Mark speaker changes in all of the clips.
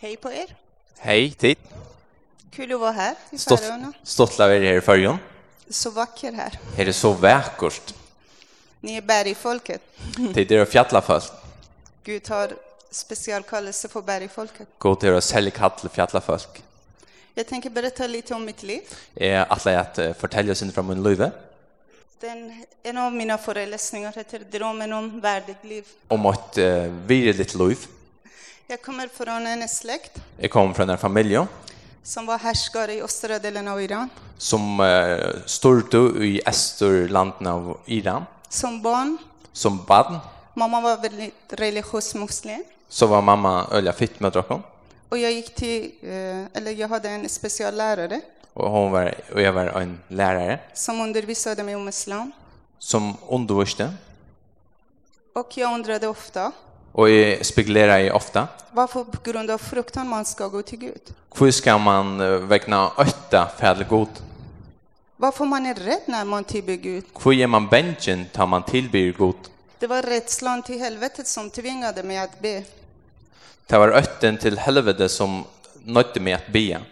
Speaker 1: Hej på er.
Speaker 2: Hej tid.
Speaker 1: Kul att vara här i
Speaker 2: Stått
Speaker 1: Färöarna.
Speaker 2: stolt över er här i Färjan.
Speaker 1: Så vacker här.
Speaker 2: Här är så vackert.
Speaker 1: Ni är bergfolket.
Speaker 2: Tid är fjälla fast.
Speaker 1: Gud har specialkallelse för bergfolket.
Speaker 2: Gå till att sälja katt fjälla folk.
Speaker 1: Jag tänker berätta lite om mitt liv.
Speaker 2: Eh att lägga att fortälja sin från min liv
Speaker 1: Den, en av mina föreläsningar heter Drömmen om värdigt liv.
Speaker 2: om att eh, vi är lite liv.
Speaker 1: Jag kommer från en släkt
Speaker 2: Jag kommer från en familj
Speaker 1: som var härskare i östra delen av Iran.
Speaker 2: som eh, stod i Österlanden av Iran
Speaker 1: Som barn,
Speaker 2: som barn
Speaker 1: mamma var väldigt religiös muslim.
Speaker 2: så var mamma ölja fitt med drakon
Speaker 1: Och jag gick till, eh, eller jag hade en speciallärare
Speaker 2: och hon var och jag var en lärare
Speaker 1: som undervisade mig om islam.
Speaker 2: som undervisade
Speaker 1: Och jag undrade ofta
Speaker 2: och jag spekulerar i ofta
Speaker 1: varför på grund av fruktan man ska gå till Gud.
Speaker 2: Hur ska man eh, väckna åtta fädelgod?
Speaker 1: Varför man är rädd när man tillber Gud.
Speaker 2: Hur ger man bänken tar man tillbyr god?
Speaker 1: Det var rädslan till helvetet som tvingade mig att be.
Speaker 2: Det var ötten till helvete som nötte mig att be.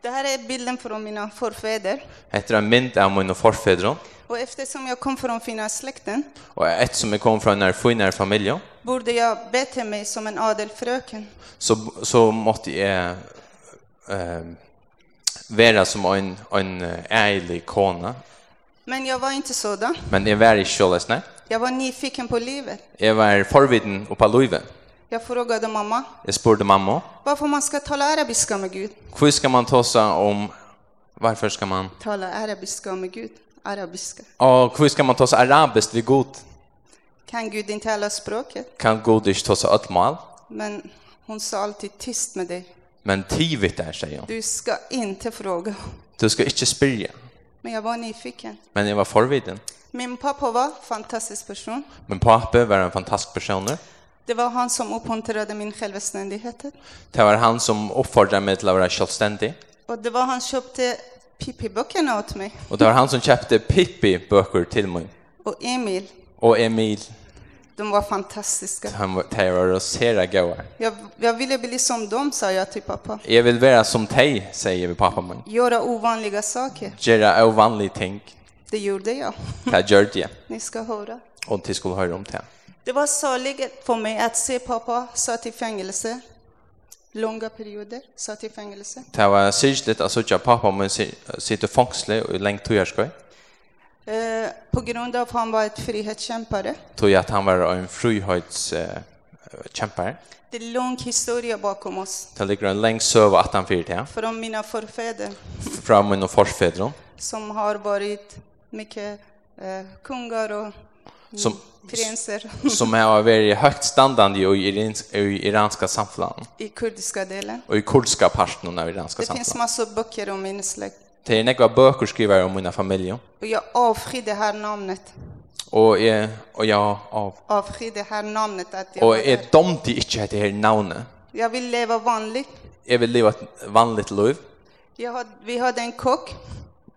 Speaker 1: Det här är bilden från mina förfäder.
Speaker 2: Efter en mynd av mina förfäder
Speaker 1: Och eftersom jag kom från fina släkten
Speaker 2: och ett som jag kom från en finare familj
Speaker 1: borde jag bete mig som en adelfröken.
Speaker 2: så, så måtte jag eh, vara som en, en ärlig kona.
Speaker 1: Men jag var inte sådan.
Speaker 2: Men jag var inte så nej.
Speaker 1: Jag var nyfiken på livet.
Speaker 2: Jag var förviden och på livet.
Speaker 1: Jag frågade mamma
Speaker 2: Jag spurgade mamma,
Speaker 1: varför man ska tala arabiska med Gud.
Speaker 2: hur ska man ta sig om... Varför ska man...
Speaker 1: Tala arabiska med Gud. Arabiska.
Speaker 2: Och hur ska man ta sig arabiskt vid god?
Speaker 1: Kan Gud inte alla språket?
Speaker 2: kan godis ta sig ett mal,
Speaker 1: Men hon sa alltid tyst med dig.
Speaker 2: men tivet där, säger hon.
Speaker 1: Du ska inte fråga.
Speaker 2: Du ska inte spyrja.
Speaker 1: Men jag var nyfiken.
Speaker 2: Men jag var förviden.
Speaker 1: Min pappa var en fantastisk person.
Speaker 2: Men pappa var en fantastisk person.
Speaker 1: Det var han som uppmuntrade min självständighet.
Speaker 2: Det var han som uppfordrade mig till att vara självständig.
Speaker 1: Och det var han som köpte Pippi-böckerna åt mig.
Speaker 2: Och det var han som köpte Pippi-böcker till mig.
Speaker 1: Och Emil,
Speaker 2: Och Emil,
Speaker 1: de var fantastiska.
Speaker 2: han var det var rosera gåar.
Speaker 1: Jag, jag ville bli som dem, sa jag till pappa.
Speaker 2: Jag vill vara som dig, säger vi pappa min.
Speaker 1: Göra ovanliga saker.
Speaker 2: Göra ovanliga ting.
Speaker 1: Det gjorde jag.
Speaker 2: Det gjorde jag.
Speaker 1: Ni ska höra.
Speaker 2: Och till skulle höra om det.
Speaker 1: Det var sorgligt för mig att se pappa satt i fängelse. Långa perioder satt i fängelse.
Speaker 2: Det var särskilt att sådär pappa min sitter fångslig och längt tog jag skoj.
Speaker 1: Eh, på grund av att han var ett frihetskämpare.
Speaker 2: Tog jag att han var en frihetskämpare. Eh, kämpare.
Speaker 1: Det är lång historia bakom oss.
Speaker 2: Det ligger en lång söva att han fyrt här.
Speaker 1: Från mina förfäder
Speaker 2: Fra min och förfäder.
Speaker 1: som har varit mycket eh, kungar och
Speaker 2: Som,
Speaker 1: prinser
Speaker 2: som har varit högt standande i, irins, i iranska samfällan.
Speaker 1: i kurdiska delen.
Speaker 2: Och i kurdska parten av iranska
Speaker 1: Det finns
Speaker 2: samfällan.
Speaker 1: massor böcker om min släkt.
Speaker 2: Det är några böcker skriver om mina familjer.
Speaker 1: Och jag avskyr det här namnet.
Speaker 2: Och jag, och jag, av,
Speaker 1: Avskyr det här namnet att jag, var
Speaker 2: och jag
Speaker 1: där.
Speaker 2: dömde inte det här namnet.
Speaker 1: jag vill leva vanligt.
Speaker 2: Jag vill leva ett vanligt liv.
Speaker 1: Jag hade, vi hade en kock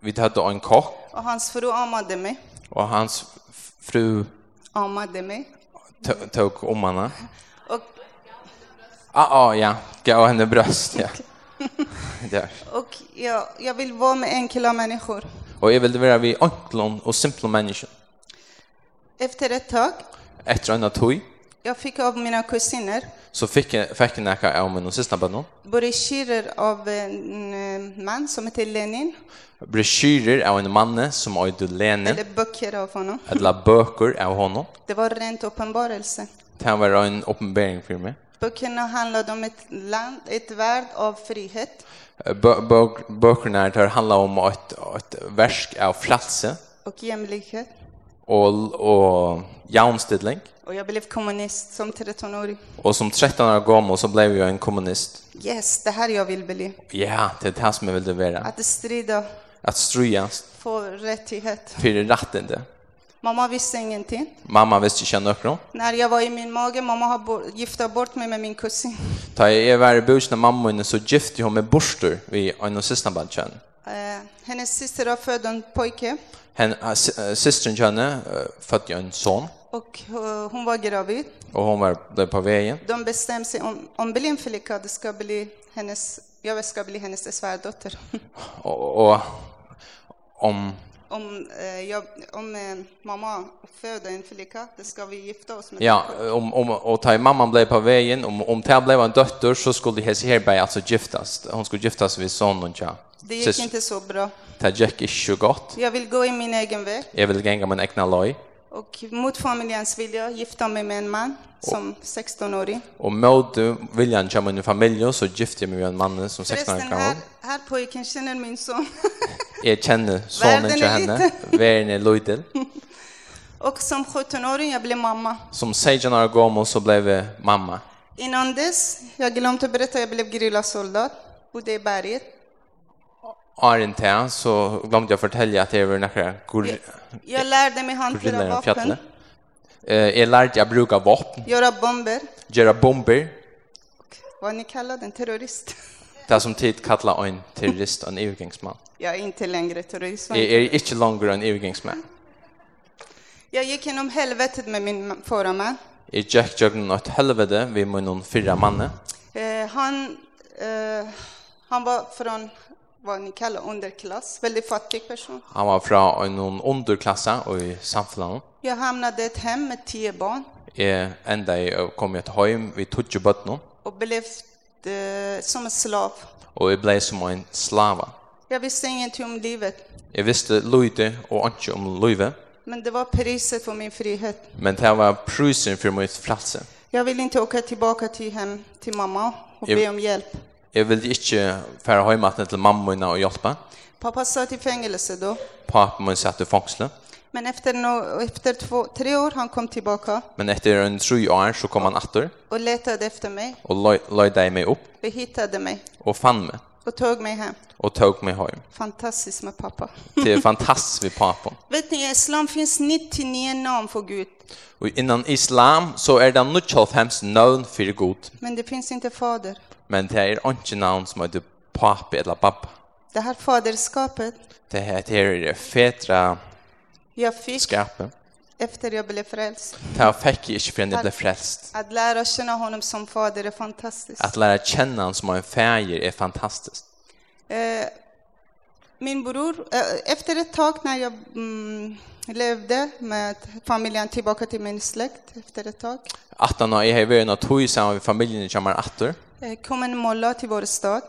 Speaker 2: Vi hade en kock
Speaker 1: och hans fru amade mig.
Speaker 2: och hans f- fru
Speaker 1: Amade mig.
Speaker 2: to- tog om henne.
Speaker 1: Och,
Speaker 2: Ah, ah, ja. Gav henne bröst, ja. Där.
Speaker 1: och jag, jag vill vara med enkla människor.
Speaker 2: Och jag ville vara vid enklon och simpla människor.
Speaker 1: Efter ett tag,
Speaker 2: Efter en tog
Speaker 1: jag fick av mina kusiner
Speaker 2: så fick jag fick jag näka av min sista bönor.
Speaker 1: broschyrer av en eh, man som heter Lenin,
Speaker 2: Broschyrer av en manne som ägde Lene,
Speaker 1: eller böcker av honom.
Speaker 2: eller böcker av honom.
Speaker 1: Det var rent uppenbarelse.
Speaker 2: Det här var en uppenbaring för mig.
Speaker 1: Böckerna handlade om ett land, ett värld av frihet
Speaker 2: Bö- bö- Böckerna där handlar om ett, ett verk av frälse
Speaker 1: och jämlikhet.
Speaker 2: och, och jämställdhet.
Speaker 1: Och jag blev kommunist som 13-åring.
Speaker 2: Och som 13 år gammal så blev jag en kommunist.
Speaker 1: Yes, det här jag vill bli.
Speaker 2: Ja, det är det här som jag ville vara.
Speaker 1: Att strida
Speaker 2: Att strujas
Speaker 1: för rättighet.
Speaker 2: för rättande.
Speaker 1: Mamma visste ingenting.
Speaker 2: Mamma visste inte något.
Speaker 1: När jag var i min mage, mamma har bo- gifta bort mig med min kusin.
Speaker 2: Ta jag var i bursna mamma inne så gifte hon med borstor vid en sista badkön.
Speaker 1: Eh,
Speaker 2: eh,
Speaker 1: hennes syster har född en pojke.
Speaker 2: Hen systern Janne födde eh, en son
Speaker 1: och eh, hon var gravid.
Speaker 2: Och hon var där på vägen.
Speaker 1: De bestämde sig om, om Belin Filika, det ska bli hennes, jag ska bli hennes svärdotter.
Speaker 2: Och, och om
Speaker 1: om eh, jag, om eh, mamma föder en Filika, det ska vi gifta oss med.
Speaker 2: ja, om om och ta mamman blev på vägen, om om det blev en dotter så skulle Hesi Herberg alltså giftas. Hon skulle giftas vid sonen tja.
Speaker 1: Det gick inte så bra.
Speaker 2: Det gick inte så gott.
Speaker 1: Jag vill gå i min egen väg
Speaker 2: Jag vill gänga min egna loj.
Speaker 1: och mot familjens vilja gifta mig med en man som 16-årig.
Speaker 2: Och mot eh, viljan till min familj så gifte jag mig med en man som 16 år
Speaker 1: Förresten, här,
Speaker 2: gammal.
Speaker 1: här pojken känner min son.
Speaker 2: Jag känner sonen
Speaker 1: Världen
Speaker 2: till
Speaker 1: är
Speaker 2: henne. Världen är lojtel.
Speaker 1: och som 17-åring jag blev mamma.
Speaker 2: Som 16 år gammal så blev jag mamma.
Speaker 1: Innan dess, jag glömde att berätta, jag blev grillasoldat. Bodde i berget.
Speaker 2: Arent här så glömde jag fortälja att det var några gor-
Speaker 1: Jag lärde mig
Speaker 2: gorillor
Speaker 1: hantera
Speaker 2: i fjällen.
Speaker 1: vapen,
Speaker 2: Eh, jag lärde jag bruka vapen,
Speaker 1: göra bomber.
Speaker 2: göra bomber,
Speaker 1: Vad ni kallar den, terrorist.
Speaker 2: det som tid kallar en terrorist, en övergångsman.
Speaker 1: Jag är inte längre terrorist.
Speaker 2: Jag är inte längre en övergångsman.
Speaker 1: Jag gick genom helvetet med min förra man.
Speaker 2: Jag gick jögnen åt helvete vid min fyra manne.
Speaker 1: Eh, han, eh, han var från vad ni kallar underklass, väldigt fattig person.
Speaker 2: Han var från en underklasse och i samfunnet.
Speaker 1: Jag hamnade i ett hem med tio barn
Speaker 2: Jag enda jag kom jag till hem vid tog bötterna
Speaker 1: och blev eh, som en slav.
Speaker 2: och jag blev som en slava.
Speaker 1: Jag visste ingenting om livet,
Speaker 2: Jag visste lojde och inte om lojve,
Speaker 1: men det var priset för min frihet.
Speaker 2: um men det var prysen för mitt fralse.
Speaker 1: Jag vill inte åka tillbaka till hem till mamma och
Speaker 2: Jag-
Speaker 1: be om hjälp.
Speaker 2: Jag ville inte færa heimaten till mamma och hjälpa.
Speaker 1: Pappa satt i fängelse då,
Speaker 2: Pappa min satt i fängsle.
Speaker 1: men efter, no, efter två, tre år han kom tillbaka
Speaker 2: Men efter en tre år så kom han åter
Speaker 1: och letade efter mig
Speaker 2: och løy- løyde mig upp
Speaker 1: och hittade mig
Speaker 2: och fann mig
Speaker 1: och tog mig hem.
Speaker 2: och tog mig hem.
Speaker 1: Fantastiskt med pappa.
Speaker 2: Det är er fantastiskt vid pappa.
Speaker 1: Vet ni, i islam finns 99 namn för Gud,
Speaker 2: Och innan islam er så är det 95 navn för god,
Speaker 1: men det finns inte fader.
Speaker 2: men det är inte navn som heter pappa eller pappa.
Speaker 1: Det här faderskapet
Speaker 2: Det här det är er fetra
Speaker 1: jag fick
Speaker 2: skapet.
Speaker 1: efter jag blev frälst.
Speaker 2: Det här fick jag inte förrän jag blev frälst.
Speaker 1: Att lära känna honom som fader är fantastiskt.
Speaker 2: Att lära känna honom som en färger är fantastiskt.
Speaker 1: Eh, min bror, eh, efter ett tag när jag mm, levde med familjen tillbaka till min släkt, efter ett tag,
Speaker 2: Att han har i vägen att tog samman med familjen kommer åter.
Speaker 1: eh, kom en mullah till vår stad,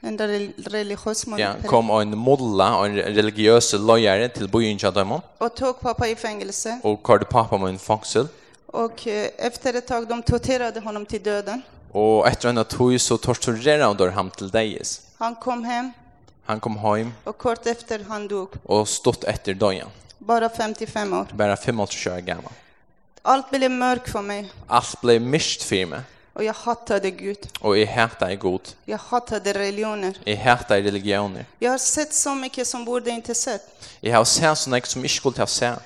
Speaker 1: en rel- religiös mullah,
Speaker 2: Ja, kom en molla och en religiös lojare till byn Chadamon
Speaker 1: och tog pappa i fängelse.
Speaker 2: och kallade pappa med en fångsel.
Speaker 1: Och eh, efter ett tag de torterade honom till döden.
Speaker 2: Och efter en tog så torturerade han då ham till dejes.
Speaker 1: Han kom hem
Speaker 2: Han kom hem
Speaker 1: och kort efter han dog,
Speaker 2: och stått efter dagen.
Speaker 1: bara 55 år.
Speaker 2: Bara 55 år gammal.
Speaker 1: Allt blev mörkt för mig
Speaker 2: Allt blev mist för mig
Speaker 1: och jag hatade Gud.
Speaker 2: och jag hatar god.
Speaker 1: Jag hatade religioner.
Speaker 2: Jag hatar religioner.
Speaker 1: Jag har sett så mycket som borde inte sett.
Speaker 2: Jag har sett såna som inte skulle ha sett.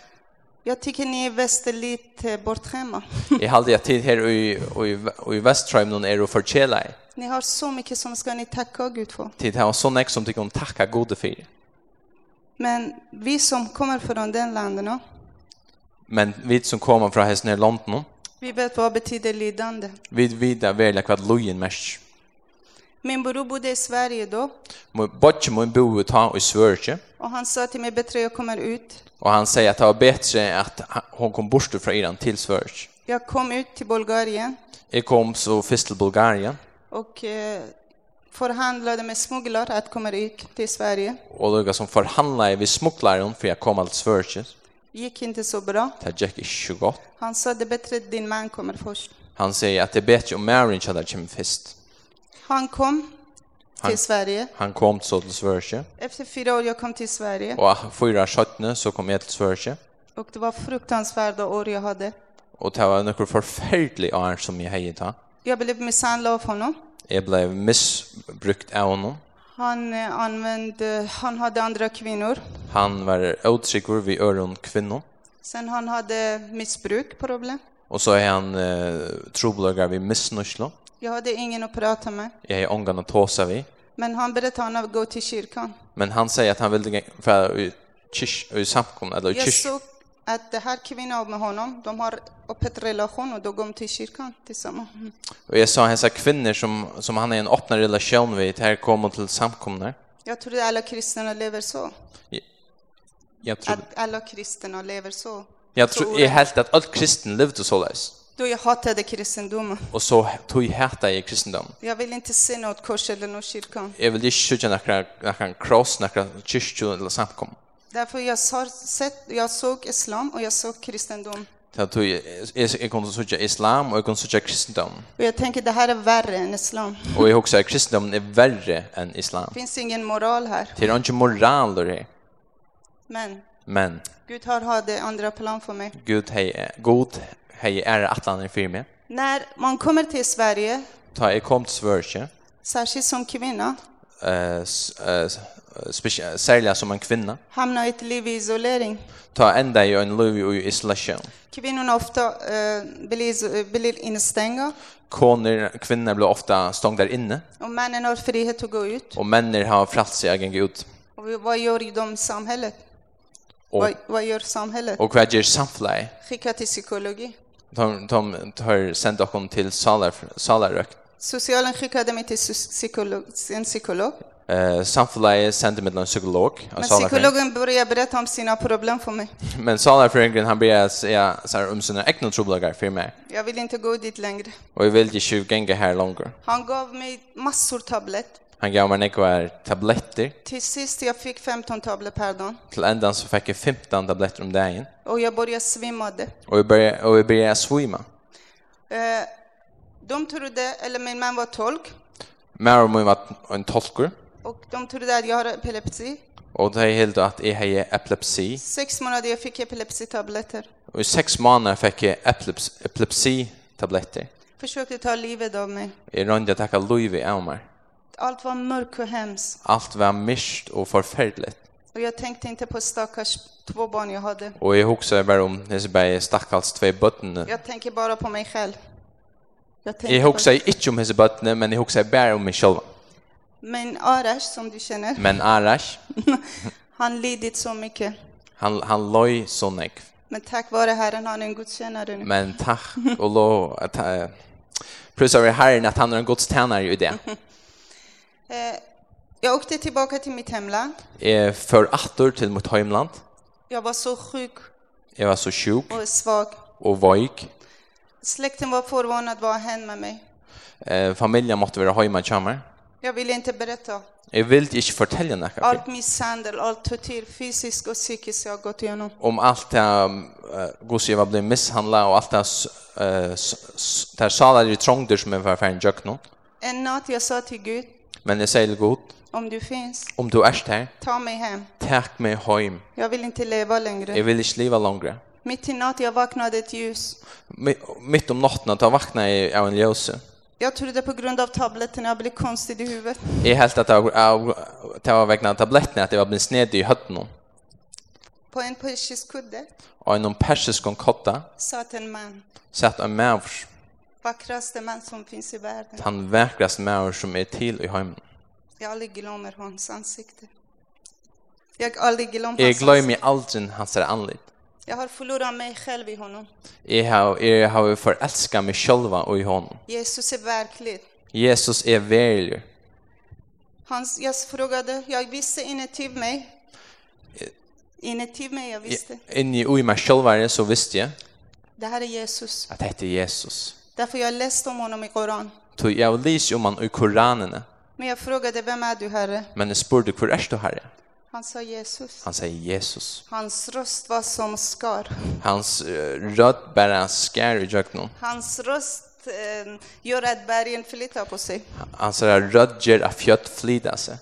Speaker 1: Jag tycker ni i väst är lite bortskämda.
Speaker 2: Jag hade jag tid här i i och i er Västtröm någon är och förkälla.
Speaker 1: Ni har så mycket som ska ni tacka Gud för.
Speaker 2: Tid här och såna som tycker om tacka gode för.
Speaker 1: Men vi som kommer från den länderna,
Speaker 2: Men vi som kommer från hästen i London,
Speaker 1: vi vet vad betyder lidande.
Speaker 2: vi vidare välja vad lojen mest.
Speaker 1: Min bror bodde i Sverige då
Speaker 2: Både min bo ta i Sverige
Speaker 1: och han sa till mig bättre jag kommer ut.
Speaker 2: och han säger att det var bättre att hon kom bort från Iran till Sverige.
Speaker 1: Jag kom ut till Bulgarien
Speaker 2: Jag kom så först till Bulgarien
Speaker 1: och eh, förhandlade med smugglare att komma ut till Sverige.
Speaker 2: och låg som förhandlade vid smugglaren för jag kom till Sverige.
Speaker 1: gick inte så bra.
Speaker 2: Det gick inte så gott.
Speaker 1: Han sa det är bättre att din man kommer först.
Speaker 2: Han säger att det är bättre om Marin hade kommit först.
Speaker 1: Han kom
Speaker 2: Han-
Speaker 1: till Sverige.
Speaker 2: Han kom så till Sverige
Speaker 1: Efter fyra år jag kom till Sverige
Speaker 2: och fyra skötne så kom jag till Sverige
Speaker 1: och det var fruktansvärda år jag hade.
Speaker 2: och det var några förfärliga år som jag hade tagit.
Speaker 1: Jag blev misshandlad av honom.
Speaker 2: Jag blev missbrukt av honom.
Speaker 1: Han, eh, använde, han hade andra kvinnor.
Speaker 2: Han var otryggur vid öron kvinnor.
Speaker 1: Sen han hade missbruk, problem.
Speaker 2: Och så är han eh, trobolagar vid missnörsla.
Speaker 1: Jag hade ingen att prata med.
Speaker 2: Jag är ångan att tåsa vid.
Speaker 1: Men han berättade att han gå till kyrkan.
Speaker 2: Men han säger att han ville gå- för i kyrk i samkom eller i
Speaker 1: Jag
Speaker 2: kyrk.
Speaker 1: såg att det här kvinnan och med honom, de har öppet relation och då går de till kyrkan tillsammans.
Speaker 2: Och jag sa hessa kvinnor som som han är i en öppen relation vid här kommer till samkomna.
Speaker 1: Jag tror att alla kristna lever så.
Speaker 2: Jag tror
Speaker 1: Att alla kristna lever så.
Speaker 2: jag tror är helt att all kristen levde så läs.
Speaker 1: Då jag hatade kristendomen.
Speaker 2: Och så tog jag hata i kristendom.
Speaker 1: Jag vill inte se något kors eller någon kyrka.
Speaker 2: Jag vill inte sjunga några några cross, några kyrkor eller samkom.
Speaker 1: Därför jag har sett, jag såg islam och jag såg kristendom.
Speaker 2: Så att jag jag- jag kunde sjunga islam och jag kunde sjunga kristendom.
Speaker 1: Och jag tänker det här är värre än islam.
Speaker 2: Och jag husar kristendomen är värre än islam.
Speaker 1: Det finns ingen moral här.
Speaker 2: Det är inte moral det.
Speaker 1: Men
Speaker 2: Men
Speaker 1: Gud har har det andra plan för mig.
Speaker 2: Gud hej god hej är atlanen för mig.
Speaker 1: När man kommer till Sverige,
Speaker 2: Ta jag kom till Sverige.
Speaker 1: särskilt som kvinna,
Speaker 2: eh s- eh, s- eh, speci- särskilt som en kvinna
Speaker 1: hamnar i ett liv i isolering.
Speaker 2: ta ända i en liv i isolation.
Speaker 1: Kvinnorna ofta eh, blir, iso- blir instängda
Speaker 2: Koner, kvinnor blir ofta stångda där inne
Speaker 1: och männen har frihet att gå ut.
Speaker 2: och männen har frälse egen ut.
Speaker 1: Och vad gör de i samhället?
Speaker 2: Och
Speaker 1: Vad, vad gör samhället?
Speaker 2: och vad gör samfly?
Speaker 1: Skicka till psykologi.
Speaker 2: De de tar sända kom till salar salarök.
Speaker 1: Socialen skickade mig till psy- psykolog, en psykolog.
Speaker 2: Eh samfly sände med en psykolog och
Speaker 1: Men
Speaker 2: salarök.
Speaker 1: psykologen började berätta om sina problem för mig.
Speaker 2: Men salaröken han blir säga så här om sina egna trubbelagar för mig.
Speaker 1: Jag vill inte gå dit längre.
Speaker 2: Och jag vill ju tjuv gänga här längre.
Speaker 1: Han gav mig massor tablett.
Speaker 2: Han gav mig några tabletter.
Speaker 1: Till sist jag fick 15 tabletter per dag.
Speaker 2: Till ändan så fick jag 15 tabletter om dagen.
Speaker 1: Och jag började svimma. det.
Speaker 2: Och jag började, och jag började svimma.
Speaker 1: Eh, de trodde, eller min man var tolk.
Speaker 2: Mer och mer var en tolkur.
Speaker 1: Och de trodde att jag har epilepsi.
Speaker 2: Och det är helt att jag har epilepsi.
Speaker 1: Sex månader jag fick epilepsitabletter.
Speaker 2: Och i sex månader fick jag epileps, epilepsi-tabletter.
Speaker 1: Försökte ta livet av mig.
Speaker 2: Jag rönde att tacka Louis av mig.
Speaker 1: Allt var mörkt och hemskt.
Speaker 2: Allt var mist och förfärligt.
Speaker 1: Och jag tänkte inte på stackars två barn jag hade.
Speaker 2: Och jag husker bara om dessa bäge stackars två bötterna.
Speaker 1: Jag tänker bara på mig själv. Jag tänker
Speaker 2: Jag husker inte om dessa bötterna, men jag husker bara om mig själv.
Speaker 1: på min Arash som du känner.
Speaker 2: Men Arash,
Speaker 1: Han lidit så mycket.
Speaker 2: han, han loj så nek.
Speaker 1: Men tack vare Herren har han en gudstjänare nu.
Speaker 2: Men tack och lov att eh, prisa över Herren att han är en Guds tjänare i det.
Speaker 1: Eh, jag åkte tillbaka till mitt hemland.
Speaker 2: Jag för åter till mitt hemland.
Speaker 1: Jag var så sjuk
Speaker 2: Jag var så sjuk
Speaker 1: och svag.
Speaker 2: och vajk.
Speaker 1: Släkten var förvånad vad har hänt med mig.
Speaker 2: Eh, familjen måtte vara hemma tjammar.
Speaker 1: Jag ville inte berätta.
Speaker 2: Jag vill inte fortälla något
Speaker 1: Allt misshandel, allt tortyr, fysiskt och psykiskt jag har gått igenom.
Speaker 2: om allt det uh, Guds jag blev misshandlad och allt det uh, där salar i trångder som er är förfärden jag nu.
Speaker 1: En natt jag sa till Gud,
Speaker 2: Men jag säger god,
Speaker 1: om du finns,
Speaker 2: om du er är här,
Speaker 1: ta mig hem.
Speaker 2: tack mig hem.
Speaker 1: Jag vill inte leva
Speaker 2: Jag
Speaker 1: längre.
Speaker 2: vill inte leva längre.
Speaker 1: Mitt i natt jag vaknade ett ljus.
Speaker 2: Mi- Mitt om natten att jag vaknar jag av en ljuse.
Speaker 1: Jag trodde på grund av tabletterna jag blev konstig i huvudet.
Speaker 2: Jag helt att jag av det var vägna tabletterna att jag var blivit sned i hötten
Speaker 1: På en persisk kudde
Speaker 2: och en persisk kotta
Speaker 1: satt en man.
Speaker 2: satt en människa
Speaker 1: Vackraste man som finns i världen.
Speaker 2: han verkligaste människa som är till i hemmen.
Speaker 1: Jag aldrig glömmer hans ansikte. Jag aldrig glömmer
Speaker 2: Jag
Speaker 1: hans ansikte.
Speaker 2: glömmer aldrig hans anledning.
Speaker 1: Jag har förlorat mig själv i honom.
Speaker 2: Jag har jag har förälskat mig själva och i honom.
Speaker 1: Jesus är verklig.
Speaker 2: Jesus är värlig.
Speaker 1: Hans, jag frågade, jag visste inuti mig. Inuti mig, jag visste.
Speaker 2: Inne i mig själva så visste jag
Speaker 1: Det här är Jesus.
Speaker 2: att det är Jesus.
Speaker 1: Därför jag läste om honom i Koran.
Speaker 2: Så jag läser om han i Koranen.
Speaker 1: Men jag frågade, vem är du Herre?
Speaker 2: Men jag spurte, hvor er du herre?
Speaker 1: Han sa Jesus.
Speaker 2: Han säger Jesus.
Speaker 1: Hans röst var som skar.
Speaker 2: Hans uh, röd bara skär i jökna.
Speaker 1: Hans röst eh, gör att bergen flyttar på sig.
Speaker 2: Hans röd gör att fjött flida sig.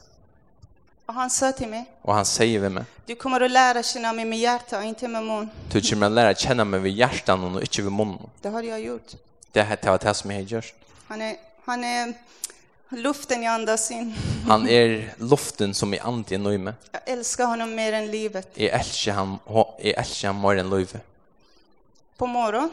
Speaker 1: Och han sa till mig,
Speaker 2: Och han säger vid mig.
Speaker 1: du kommer att lära känna mig med hjärta, inte med mun.
Speaker 2: Du kommer att lära känna mig vid hjärtan och inte vid munnen.
Speaker 1: Det har jag gjort.
Speaker 2: Det här det var det som jag gör.
Speaker 1: Han är, han är luften jag andas in.
Speaker 2: Han är luften som är ant i nöjme.
Speaker 1: Jag älskar honom mer än livet.
Speaker 2: Jag älskar han, jag älskar han mer än löjve.
Speaker 1: På morgon,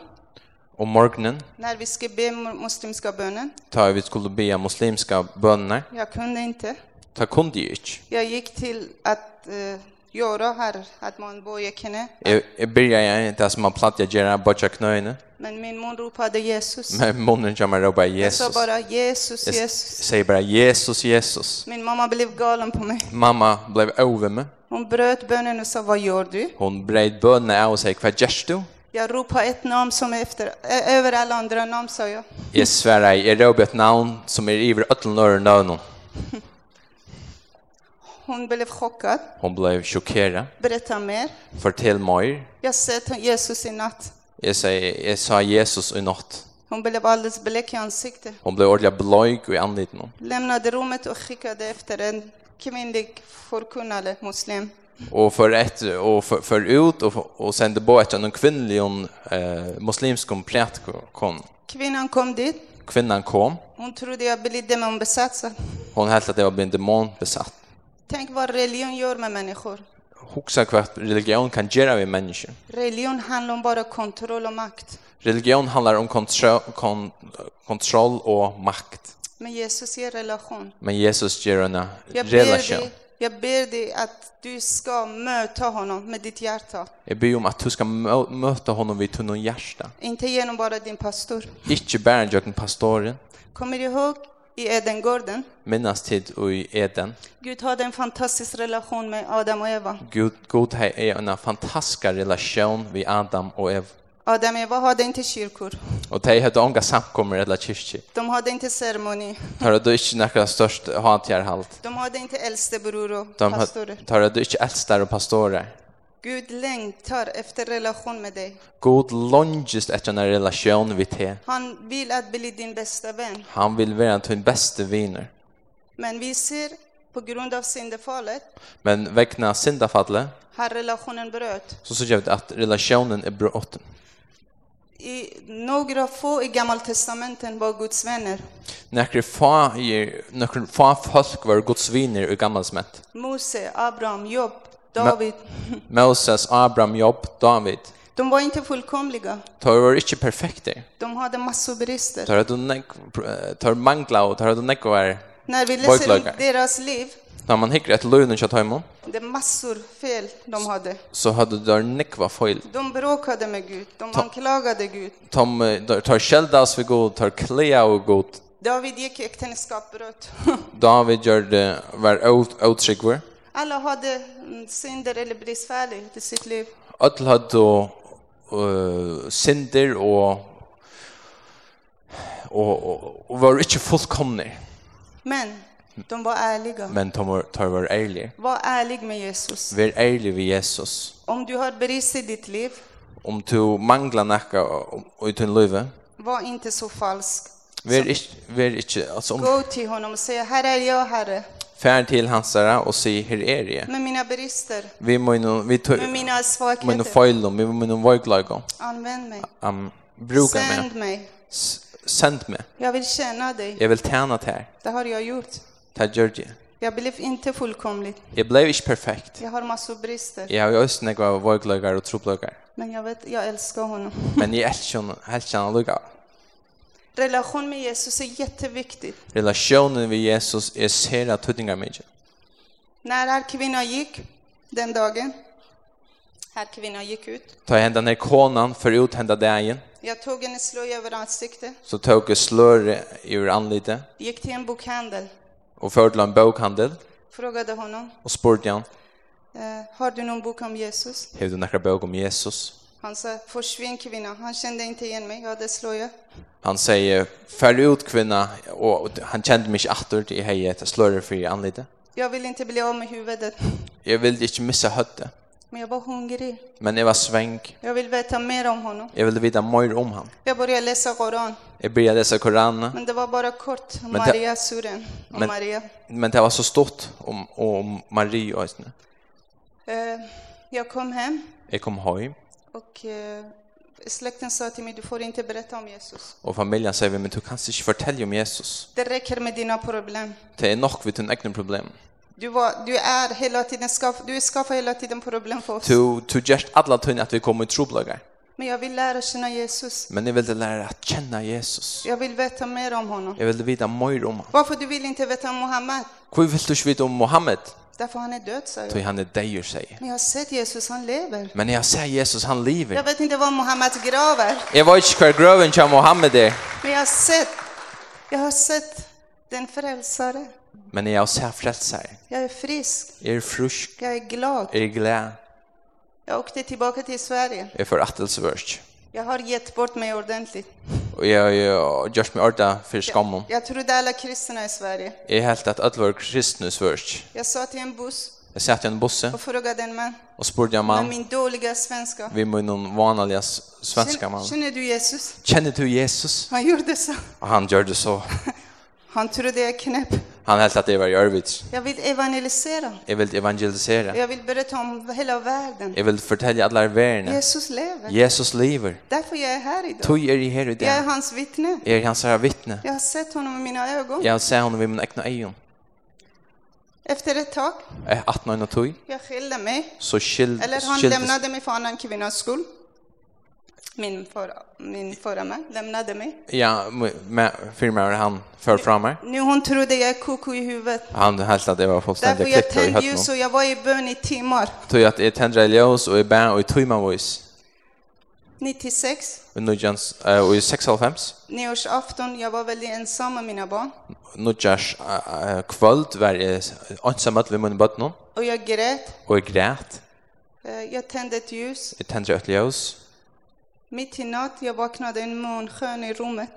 Speaker 2: Och morgonen
Speaker 1: när vi ska be muslimska bönen,
Speaker 2: tar vi skulle be muslimska böner.
Speaker 1: jag kunde inte.
Speaker 2: Ta kunde ju inte.
Speaker 1: Jag gick till att eh, göra här, att man böjer knä.
Speaker 2: Jag, jag började det som man platt jag gör, böja knöjna.
Speaker 1: Men min mun ropade Jesus.
Speaker 2: Men munnen kommer jag ropar
Speaker 1: Jag sa
Speaker 2: Jesus.
Speaker 1: bara Jesus,
Speaker 2: Jag
Speaker 1: Jesus.
Speaker 2: s- säger bara Jesus, Jesus.
Speaker 1: Min mamma blev galen på mig.
Speaker 2: Mamma blev över mig.
Speaker 1: Hon bröt bönen och sa, vad gör du?
Speaker 2: Hon bred bönorna av och säger, vad gör du?
Speaker 1: Jag ropade ett namn som är efter, ö- över alla andra namn, sa jag.
Speaker 2: Jag svärar, jag ropar ett namn som är över ötlen och nöden.
Speaker 1: Hon blev chockad.
Speaker 2: Hon blev chockerad.
Speaker 1: Berätta mer.
Speaker 2: Fortell mig.
Speaker 1: Jag sett Jesus i natt.
Speaker 2: Jag, säger, jag e sa Jesus i natt.
Speaker 1: Hon blev alldeles blek i ansiktet.
Speaker 2: Hon blev ordentligt blöjk och i anledningen.
Speaker 1: Lämnade rummet och skickade efter en kvinnlig förkunnare, muslim.
Speaker 2: Och för ett och för, för ut och, och sände på ett en kvinnlig eh, muslimsk komplet kom.
Speaker 1: Kvinnan kom dit.
Speaker 2: Kvinnan kom.
Speaker 1: Hon trodde jag blev demonbesatt.
Speaker 2: Hon helt att det var en demon besatt.
Speaker 1: Tänk vad religion gör med människor.
Speaker 2: Huxa kvart religion kan göra vi människor.
Speaker 1: Religion handlar om bara kontroll och makt.
Speaker 2: Religion handlar om kontroll kon, kontroll och makt.
Speaker 1: Men Jesus ger relation.
Speaker 2: Men Jesus ger en
Speaker 1: Jag ber,
Speaker 2: relation.
Speaker 1: dig, jag ber dig att du ska möta honom med ditt hjärta.
Speaker 2: Jag ber om att du ska mö- möta honom vid tunnan hjärta.
Speaker 1: Inte genom bara din pastor.
Speaker 2: Inte bara jag pastoren.
Speaker 1: Kommer du ihåg i Edengården?
Speaker 2: Minnas tid och i Eden.
Speaker 1: Gud hade en fantastisk relation med Adam och Eva.
Speaker 2: Gud, Gud har en fantastisk relation vid Adam och Eva.
Speaker 1: Adam och Eva hade inte kyrkor.
Speaker 2: Och de hade unga samkommer eller kyrkje.
Speaker 1: De hade inte ceremoni.
Speaker 2: Tar du inte några störst hatjar halt.
Speaker 1: De hade inte äldstebror och
Speaker 2: De har-
Speaker 1: pastorer.
Speaker 2: tar du inte äldsta och pastorer.
Speaker 1: Gud längtar efter relation med dig.
Speaker 2: God longest efter en relation vid te.
Speaker 1: Han vill att bli din bästa vän.
Speaker 2: Han vill vara din bästa viner.
Speaker 1: Men vi ser på grund av syndafallet
Speaker 2: Men väckna syndafallet
Speaker 1: har relationen bröt.
Speaker 2: så såg jag att relationen är bråten.
Speaker 1: I några få i Gammaltestamenten var Guds vänner.
Speaker 2: Några få i- några få folk var Guds viner i gammelsmätt.
Speaker 1: Mose, Abraham, Job, David.
Speaker 2: Moses, Abraham, Job, David.
Speaker 1: De var inte fullkomliga.
Speaker 2: Tar var inte perfekta.
Speaker 1: De hade massor brister.
Speaker 2: Tar du nek tar mangla och tar du nek var
Speaker 1: När vi läser om
Speaker 2: Bojklagar.
Speaker 1: deras liv,
Speaker 2: när man hickar ett lön och kött hemma
Speaker 1: det är massor fel de hade.
Speaker 2: så hade du där nek var fel.
Speaker 1: De bråkade med Gud, de anklagade Gud.
Speaker 2: Tom tar skäldas för god, tar klea och god.
Speaker 1: David gick i äktenskapsbrott.
Speaker 2: David gjorde var out outrigger.
Speaker 1: Alla hade mm, synder eller bristfällighet i sitt liv.
Speaker 2: Öll hade eh synder och och och- och var inte fullkomna,
Speaker 1: Men de var ärliga.
Speaker 2: men de var tar var ärliga.
Speaker 1: Var ärlig med Jesus.
Speaker 2: Var ärlig vid Jesus.
Speaker 1: Om du har brist i ditt liv,
Speaker 2: Om du manglar nacka och utan löve,
Speaker 1: var inte så falsk.
Speaker 2: Ver ikke, ver ikke, altså om
Speaker 1: Gå till honom och säg, här är jag Herre,
Speaker 2: färd till hansara och se her er jeg.
Speaker 1: med mina brister,
Speaker 2: Vi må nu, vi tog,
Speaker 1: med mina
Speaker 2: må nu
Speaker 1: svagheter.
Speaker 2: fejl om, vi må nu vajglaga.
Speaker 1: Använd mig.
Speaker 2: Um, bruka mig,
Speaker 1: Sänd mig.
Speaker 2: S- send mig,
Speaker 1: Jag vill känna dig.
Speaker 2: jag vil tjäna til her,
Speaker 1: Det har jag gjort.
Speaker 2: til Georgie.
Speaker 1: Jag blev inte fullkomlig.
Speaker 2: Jeg blev ikke perfekt.
Speaker 1: Jag har massor brister.
Speaker 2: Jeg har jo også nekva vajglagar og troplagar.
Speaker 1: Men jag vet, jag älskar honom.
Speaker 2: Men jeg elsker henne, helst henne lukka.
Speaker 1: Relation med Jesus är jätteviktigt.
Speaker 2: Relationen vid Jesus er sera tuttingar mykje.
Speaker 1: När här kvinnan gick den dagen, här kvinnan gick ut.
Speaker 2: Ta henda ner konan för ut henda dagen,
Speaker 1: Jag tog en slöja över ansiktet,
Speaker 2: så tog jeg slør ur anlite
Speaker 1: gick till en bokhandel,
Speaker 2: og førte til en bokhandel
Speaker 1: frågade honom,
Speaker 2: og spurte han,
Speaker 1: eh, har du någon bok om Jesus?
Speaker 2: Hevde nakra bøk om um Jesus.
Speaker 1: Han sa, försvinn kvinna, han kände inte igen mig, jag hade slöja.
Speaker 2: Han säger, fär ut kvinna, och han kände mig inte attor till hej ett slöre för i anlite.
Speaker 1: Jag vill inte bli av med huvudet,
Speaker 2: Jag ville inte missa hötte,
Speaker 1: men jag var hungrig.
Speaker 2: men jag var svänk.
Speaker 1: Jag vill veta mer om honom.
Speaker 2: Jag ville veta mer om han.
Speaker 1: Jag började läsa Koran,
Speaker 2: Jag började läsa Koranen,
Speaker 1: men det var bara kort,
Speaker 2: det-
Speaker 1: Maria suren och
Speaker 2: Men-
Speaker 1: Maria.
Speaker 2: men det var så stort om, om Marie och sådär.
Speaker 1: Eh, jag kom hem
Speaker 2: Jag kom hem,
Speaker 1: och eh, släkten sa till mig, du får inte berätta om Jesus.
Speaker 2: och familjen säger, men du kan inte fortälla om Jesus.
Speaker 1: Det räcker med dina problem.
Speaker 2: Det är nog vid din egen problem.
Speaker 1: Du, var, du är hela tiden skaff, du skapar hela tiden problem för oss.
Speaker 2: Du, du gör alla tunn att vi kommer i troblagar.
Speaker 1: Men jag vill lära känna Jesus.
Speaker 2: Men jag ville lära att känna Jesus.
Speaker 1: Jag vill veta mer om honom.
Speaker 2: Jag ville veta mer om han.
Speaker 1: Varför du vill inte veta om Muhammed?
Speaker 2: Hur vill du inte veta om Mohammed?
Speaker 1: Därför han är död, sa
Speaker 2: Ty
Speaker 1: jag.
Speaker 2: han er är dejer sig.
Speaker 1: Men jag har sett Jesus, han lever.
Speaker 2: Men jag ser Jesus, han lever.
Speaker 1: Jag vet inte var Mohammeds grav är,
Speaker 2: Jag var inte kvar gröven till Mohammed er. är.
Speaker 1: men jag har sett, jag har sett den frälsare.
Speaker 2: Men jag ser frälsar.
Speaker 1: Jag är frisk,
Speaker 2: Jag är er frusk.
Speaker 1: jag är glad.
Speaker 2: Jag är glad. er
Speaker 1: Jag åkte tillbaka till Sverige.
Speaker 2: Jag är förattelsevörst.
Speaker 1: Jag har gett bort mig ordentligt.
Speaker 2: Och jag har ju gjort mig orda för skammen.
Speaker 1: Jag trodde alla kristna i Sverige.
Speaker 2: Jag har helt att alla var kristna svörst.
Speaker 1: Jag sa till en buss
Speaker 2: Jag satt i en busse
Speaker 1: och frågade en man
Speaker 2: och spurgade en
Speaker 1: med
Speaker 2: man.
Speaker 1: min dåliga svenska.
Speaker 2: Vi må någon vanliga s- svenska
Speaker 1: Känner,
Speaker 2: man.
Speaker 1: känner du Jesus?
Speaker 2: Känner du Jesus?
Speaker 1: Han gjorde så.
Speaker 2: Och han gör det så.
Speaker 1: Han trodde jag är knäpp.
Speaker 2: Han helt att det var i Örvids.
Speaker 1: Jag vill evangelisera.
Speaker 2: Jag vill evangelisera.
Speaker 1: Jag vill berätta om hela världen.
Speaker 2: Jag vill fortälja alla världen.
Speaker 1: Jesus lever.
Speaker 2: Jesus lever.
Speaker 1: Därför jag är här idag.
Speaker 2: Tog er i här i
Speaker 1: Jag är
Speaker 2: det.
Speaker 1: hans vittne.
Speaker 2: Er hans herra vittne.
Speaker 1: Jag har sett honom med mina ögon.
Speaker 2: Jag ser honom vid min egna ögon.
Speaker 1: Efter ett tag,
Speaker 2: Eh, 18 ögon och tog.
Speaker 1: jag skilde mig.
Speaker 2: Så skild,
Speaker 1: Eller han
Speaker 2: skildes.
Speaker 1: lämnade mig för annan kvinnas skull. Min förra, min förra man lämnade mig.
Speaker 2: Ja, firmar han för fram mig.
Speaker 1: Nu hon trodde jag är koko i huvudet.
Speaker 2: Han helt att det var
Speaker 1: Därför
Speaker 2: fullständigt
Speaker 1: jag
Speaker 2: klickade i
Speaker 1: tände
Speaker 2: hötten.
Speaker 1: ljus och jag var i bön i timmar.
Speaker 2: Tog att jag tändra i ljus och i bär och i tumma voice.
Speaker 1: 96,
Speaker 2: Och nu jans eh och i 6.5.
Speaker 1: nyårsafton, jag var väldigt ensam med mina barn.
Speaker 2: Nu jars eh, kvöld var jag ensam att vi mun bottnen
Speaker 1: Och jag grät.
Speaker 2: och jag grät.
Speaker 1: Eh, Jag tände ett ljus.
Speaker 2: Jag tändra ett ljus
Speaker 1: Mitt i natt, jag vaknade en månskön i rummet.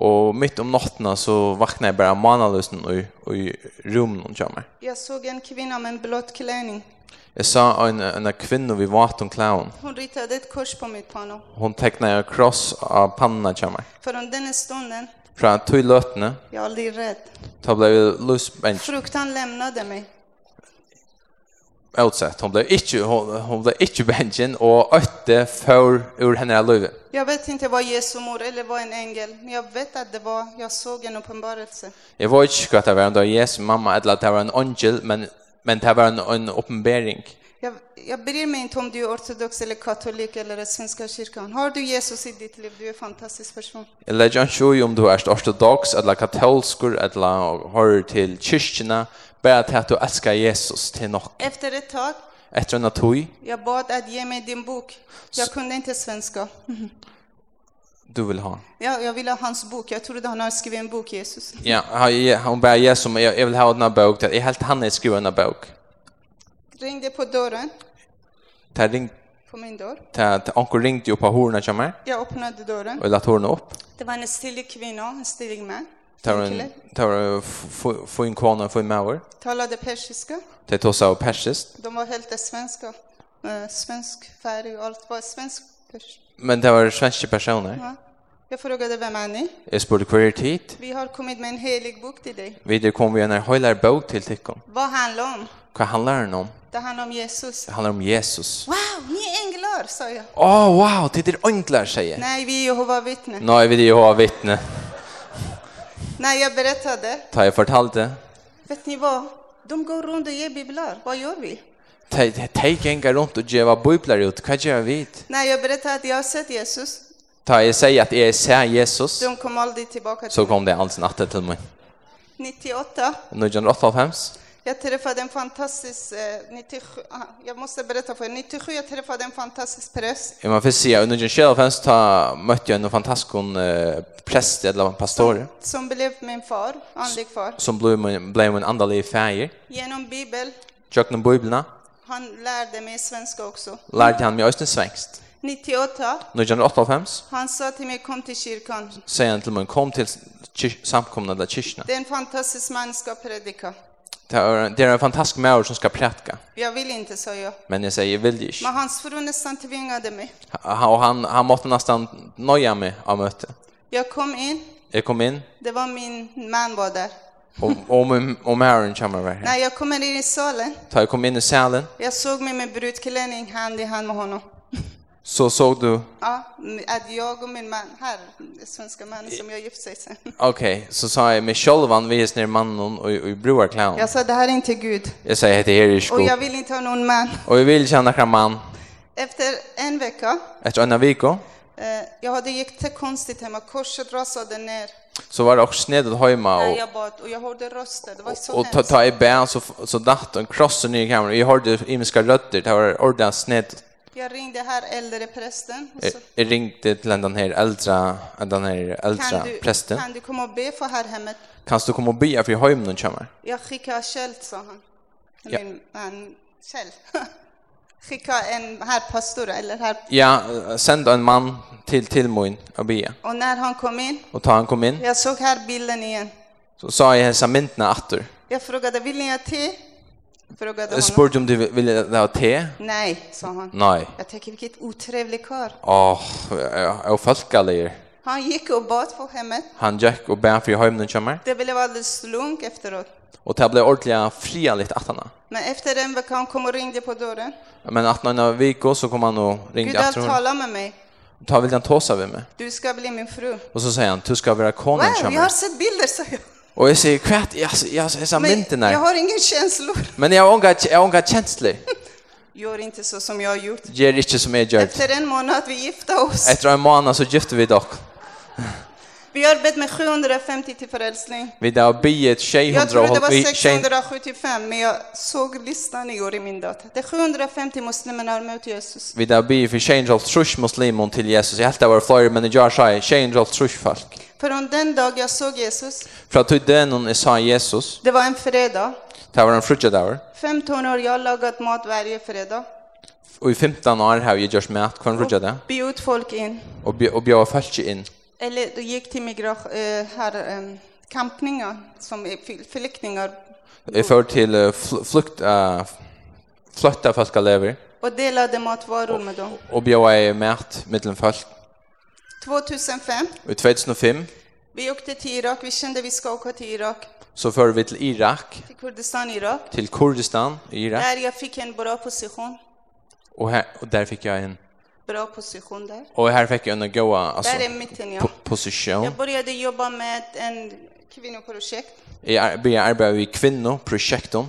Speaker 2: och mitt um om natten så vaknade jag bara manalösen och i- och i rummen och jamar.
Speaker 1: Jag såg en kvinna med en blått klänning.
Speaker 2: Jag sa en en kvinna vid vatten clown.
Speaker 1: Hon ritade ett kors på mitt panno.
Speaker 2: Hon tecknade en kross av pannan jamar.
Speaker 1: Från den stunden,
Speaker 2: Från tog lötne
Speaker 1: jag var aldrig rädd.
Speaker 2: Ta blev lusbench
Speaker 1: Fruktan lämnade mig.
Speaker 2: utsett. Hon blev inte hon, hon blev inte benchen och åtte för ur henne av livet.
Speaker 1: Jag vet inte vad Jesu mor eller vad en ängel, men jag vet att det var, jag såg en uppenbarelse.
Speaker 2: Jag var inte skratt över om det var Jesu mamma eller att det var en angel, men, men det var en, en uppenbering.
Speaker 1: Jag, jag bryr mig inte om du är ortodox eller katolik eller den svenska kyrkan. Har du Jesus i ditt liv, du är en fantastisk person.
Speaker 2: Jag lägger inte oj om du är ortodox eller katolsk eller hör till kyrkorna, bara till att du älskar Jesus till nog.
Speaker 1: Efter ett tag,
Speaker 2: Efter en tog,
Speaker 1: jag bad att ge mig din bok. Jag kunde inte svenska.
Speaker 2: du vill ha.
Speaker 1: Jag, jag ville ha hans bok, jag trodde han hade skrivit en bok, Jesus.
Speaker 2: Ja, han- hon bara Jesus, men jag jag vill ha den här bok. Jag er helt han är skriven en bok.
Speaker 1: Ringde på dörren,
Speaker 2: Det ring,
Speaker 1: på min dörr.
Speaker 2: det det- onkel ringde ju på horna kommer.
Speaker 1: Jag öppnade dörren.
Speaker 2: Och lagt hårna upp.
Speaker 1: Det var en stilig kvinna, en stilig man.
Speaker 2: Tar
Speaker 1: En
Speaker 2: en
Speaker 1: kille.
Speaker 2: tar en få- få in kvarna få in mauer.
Speaker 1: Talade persiska.
Speaker 2: Det tar så persiskt.
Speaker 1: De var helt svenska. Eh, Svensk färg och allt var svensk. pers-
Speaker 2: Men det var svenska personer.
Speaker 1: Ja. Jag frågade vem är ni?
Speaker 2: Jag spurte queer tid.
Speaker 1: Vi har kommit med en helig bok till dig.
Speaker 2: Vidare kom vi en hejlar bok till tikkom.
Speaker 1: Vad handlar det om?
Speaker 2: Vad handlar den om?
Speaker 1: Det handlar om Jesus.
Speaker 2: Det handlar om Jesus.
Speaker 1: Wow, ni är änglar, sa jag.
Speaker 2: Åh oh, wow, det är änglar säger. jag.
Speaker 1: Nej, vi är Jehova vittnen.
Speaker 2: Nej, vi det ju har vittne.
Speaker 1: När jag berättade,
Speaker 2: Ta jag fortalte.
Speaker 1: vet ni vad? De går runt och ger biblar. Vad gör vi?
Speaker 2: Ta gänga runt och geva biblar ut. Vad gör vi?
Speaker 1: När jag berättade att jag har sett Jesus,
Speaker 2: Ta jag säger att jag ser Jesus.
Speaker 1: de kom aldrig tillbaka till
Speaker 2: Så
Speaker 1: mig.
Speaker 2: kom det alls natten till mig.
Speaker 1: 98,
Speaker 2: Nu är det 8.5.
Speaker 1: jag träffade en fantastisk, eh, 97, aha, jag måste berätta för er, 97 jag träffade en fantastisk präst
Speaker 2: Jag man får se under den själva fans ta mötte jag en fantastisk eh, präst eller en pastor
Speaker 1: som blev min far, andlig far.
Speaker 2: som blev min blev min andlig färger.
Speaker 1: Genom Bibeln,
Speaker 2: Jökna biblarna
Speaker 1: han lärde mig svenska också.
Speaker 2: lärde han mig östen svenskst.
Speaker 1: 98,
Speaker 2: Nu är 8
Speaker 1: han sa till mig kom till kyrkan,
Speaker 2: säger han till mig kom till kyr- samkomna där kyrkorna.
Speaker 1: Det är en fantastisk man ska predika.
Speaker 2: Det är det är en fantastisk människa som ska prätka.
Speaker 1: Jag vill inte, sa jag.
Speaker 2: Men jag säger vill dig.
Speaker 1: Men hans fru nästan tvingade mig.
Speaker 2: Och han han måste nästan nöja mig av möte.
Speaker 1: Jag kom in,
Speaker 2: Jag kom in
Speaker 1: det var min man var där.
Speaker 2: och om om Aaron kommer var här.
Speaker 1: När jag kommer in i salen,
Speaker 2: Ta jag kom in i salen
Speaker 1: jag såg mig med brudklänning hand i hand med honom.
Speaker 2: så såg du
Speaker 1: Ja, att jag och min man, här, den svenska mannen som jag gifte sig sen.
Speaker 2: Okej, så sa jag med självan vi är ner mannen och och broar clown.
Speaker 1: Jag sa, det här är inte Gud.
Speaker 2: Jag säger heter Erich
Speaker 1: Och jag
Speaker 2: Gott.
Speaker 1: vill inte ha någon man.
Speaker 2: Och jag vill känna kan man
Speaker 1: Efter en vecka,
Speaker 2: efter en vecka.
Speaker 1: eh, Eh, Jag hade gick till konstigt hemma, korset rasade ner
Speaker 2: Så var det också snedet hemma
Speaker 1: när
Speaker 2: och
Speaker 1: jag bad och jag hörde röster, det var så
Speaker 2: och ta
Speaker 1: hemskt.
Speaker 2: ta i bän så så datt en kross ner i kameran. Jag hörde imiska rötter. Det var ordentligt snedet.
Speaker 1: Jag ringde här äldre prästen och så,
Speaker 2: Jag- eh, Jag ringde till den här äldre den här
Speaker 1: kan,
Speaker 2: äldre
Speaker 1: du,
Speaker 2: prästen.
Speaker 1: kan du komma och be för här hemmet?
Speaker 2: Kan du komma och be för hem någon kommer?
Speaker 1: Jag skickar Kjell, sa han.
Speaker 2: Ja.
Speaker 1: Min man Kjell. Skicka en här pastor eller här.
Speaker 2: Ja, send en man till till min och be.
Speaker 1: Och när han kom in,
Speaker 2: Och ta han kom in.
Speaker 1: jag såg här bilden igen.
Speaker 2: Så sa jag hälsa myntna åter.
Speaker 1: Jag frågade, vill ni ha te? Jag frågade
Speaker 2: Jag
Speaker 1: honom.
Speaker 2: spurte om du vill- ville ha te.
Speaker 1: Nej, sa han.
Speaker 2: Nej.
Speaker 1: Jag tänker, vilket otrevlig kar.
Speaker 2: Åh, jag jag folkalir.
Speaker 1: Han gick och bad på hemmet.
Speaker 2: Han gick och bär för hem någon kommer.
Speaker 1: Det blev alldeles lugnt efteråt.
Speaker 2: Och det blev ordentligt frialigt att han.
Speaker 1: Men efter en vecka han kom och ringde på dörren.
Speaker 2: Men att någon av vecko så kom han och
Speaker 1: Gud
Speaker 2: ringde
Speaker 1: har
Speaker 2: efter honom.
Speaker 1: talat med mig.
Speaker 2: Ta vill han tåsa vid mig.
Speaker 1: Du ska bli min fru.
Speaker 2: Och så säger han, du ska vara konen
Speaker 1: Wow,
Speaker 2: kommer.
Speaker 1: jag har sett bilder, sa jag.
Speaker 2: Och jag säger, kvärt, jag jag jag sa mynten
Speaker 1: jag
Speaker 2: där.
Speaker 1: har ingen känslor.
Speaker 2: Men jag har unga jag har unga känslor.
Speaker 1: Gör inte så som jag har gjort.
Speaker 2: Ger inte som jag gör.
Speaker 1: Efter en månad vi gifta oss.
Speaker 2: Efter en månad så gifte vi dock.
Speaker 1: Vi har bett med 750 till förälsning.
Speaker 2: Vi där och be ett
Speaker 1: Jag trodde det
Speaker 2: 600 vi
Speaker 1: var 675 men jag såg listan igår i min dator. Det är 750 muslimer har mött Jesus.
Speaker 2: vi där be för change of trush muslimon till Jesus. Jag helt var flyer men jag sa change of trush folk.
Speaker 1: Från den dag jag såg Jesus,
Speaker 2: För att du den hon sa Jesus.
Speaker 1: det var en fredag.
Speaker 2: Det var en frukt där.
Speaker 1: 15 år jag har lagat mat varje fredag.
Speaker 2: Och i 15 år har jag gjort mat kvar frukt där.
Speaker 1: Bjud folk in.
Speaker 2: Och bj- och bjöd folk in.
Speaker 1: Eller du gick till migration, eh, här, eh, kampningar som är fl- flyktingar.
Speaker 2: Jag för till eh, fl- flukt eh, flytta folk lever
Speaker 1: Och delade matvaror med dem.
Speaker 2: och bjöd i mat mellan folk.
Speaker 1: 2005,
Speaker 2: Och i 2005
Speaker 1: vi åkte till Irak. Vi kände vi ska åka till Irak.
Speaker 2: så för vi till Irak,
Speaker 1: Till Kurdistan, Irak.
Speaker 2: till Kurdistan i Irak
Speaker 1: Där jag fick en bra position.
Speaker 2: och här och där fick jag en
Speaker 1: Bra position där.
Speaker 2: och här fick jag en goa alltså
Speaker 1: Där är mitten, er ja.
Speaker 2: po- position.
Speaker 1: Jag började jobba med en kvinnoprojekt.
Speaker 2: Jag ar- började arbeta i kvinnoprojekten.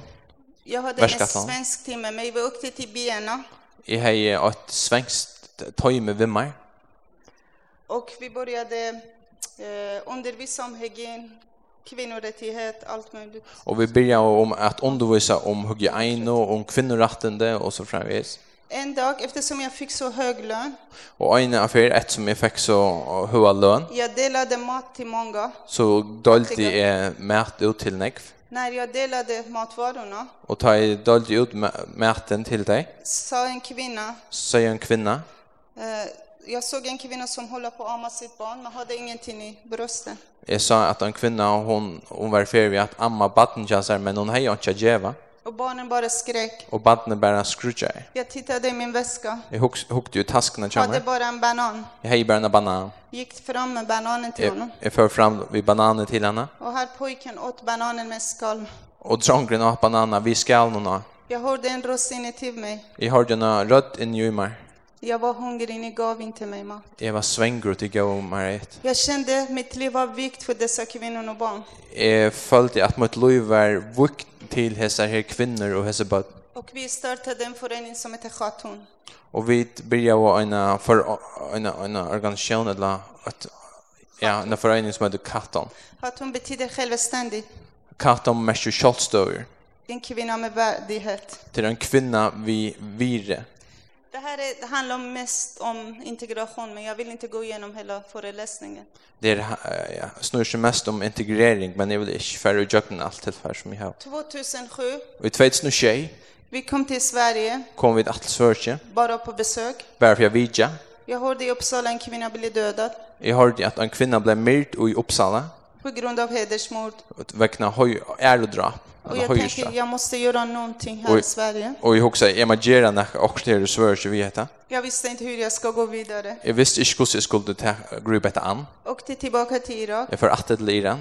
Speaker 1: Jag hade en
Speaker 2: Världskaffe.
Speaker 1: svensk team med mig. Vi åkte till Biena
Speaker 2: Jag har ett svenskt tajme vid mig
Speaker 1: och vi började eh, undervisa om hygien, kvinnorättighet, allt möjligt.
Speaker 2: och vi började om att undervisa om hygien och om kvinnorättande och så framvis.
Speaker 1: En dag, eftersom jag fick så hög lön,
Speaker 2: Och en affär ett som jag fick så höga lön
Speaker 1: jag delade mat till många.
Speaker 2: så dolde jag mat ut till nekv
Speaker 1: När jag delade matvarorna
Speaker 2: och ta i dolde ut ma- maten till dig
Speaker 1: sa en kvinna,
Speaker 2: så säger en kvinna
Speaker 1: eh, jag såg en kvinna som håller på att amma sitt barn men hade ingenting i brösten.
Speaker 2: Jag sa att en kvinna hon hon var för vid att amma barnen chansar men hon hej inte geva
Speaker 1: Och barnen bara skrek.
Speaker 2: och barnen bara skruja.
Speaker 1: Jag tittade i min väska.
Speaker 2: Jag hooks hooked ju taskarna
Speaker 1: Hade
Speaker 2: chamma.
Speaker 1: bara en banan.
Speaker 2: Jag hej bara en banan.
Speaker 1: Gick fram med bananen till
Speaker 2: Jag,
Speaker 1: honom.
Speaker 2: jag för fram vi bananer till henne
Speaker 1: Och här pojken åt bananen med skal.
Speaker 2: och drongren av bananer vi skal nu.
Speaker 1: Jag hörde en röst inne till mig.
Speaker 2: Jag hörde en rött i Newmar.
Speaker 1: Jag var hungrig, ni gav inte mig mat.
Speaker 2: Jag var svängrut i går Marit.
Speaker 1: Jag kände mitt liv var vikt för dessa kvinnor och barn.
Speaker 2: Jag följde att mitt liv var vukt till hessa här kvinnor och hessa bad.
Speaker 1: Och vi startade en förening som heter Khatun.
Speaker 2: Och vi började vara en för en en organisation eller att ja, en förening som heter Katon.
Speaker 1: Khatun betyder självständig.
Speaker 2: Katon mesju självstöver
Speaker 1: En kvinna med värdighet.
Speaker 2: till en er kvinna vi vire.
Speaker 1: Det här är, det handlar mest om integration, men jag vill inte gå igenom hela föreläsningen.
Speaker 2: Det är, eh, ja, snurrar sig mest om integrering, men jag vill inte färre jökna allt till färre som jag har.
Speaker 1: 2007,
Speaker 2: Och i 2021
Speaker 1: vi kom till Sverige,
Speaker 2: kom vi till allt Sverige,
Speaker 1: bara på besök.
Speaker 2: bara för jag vidja.
Speaker 1: Jag hörde i Uppsala en kvinna bli dödad
Speaker 2: Jag hörde att en kvinna blev myrd i Uppsala
Speaker 1: på grund av hedersmord.
Speaker 2: väckna höj ärodrap,
Speaker 1: Och
Speaker 2: eller
Speaker 1: jag tänker,
Speaker 2: höjdrap.
Speaker 1: jag måste göra någonting här
Speaker 2: Oj.
Speaker 1: i Sverige.
Speaker 2: Och jag också, jag måste göra något också till Sverige vi heter.
Speaker 1: Jag visste inte hur jag ska gå vidare.
Speaker 2: Jag visste inte hur jag skulle ta grupp ett an.
Speaker 1: Åkte tillbaka till Irak.
Speaker 2: Jag får att till Iran.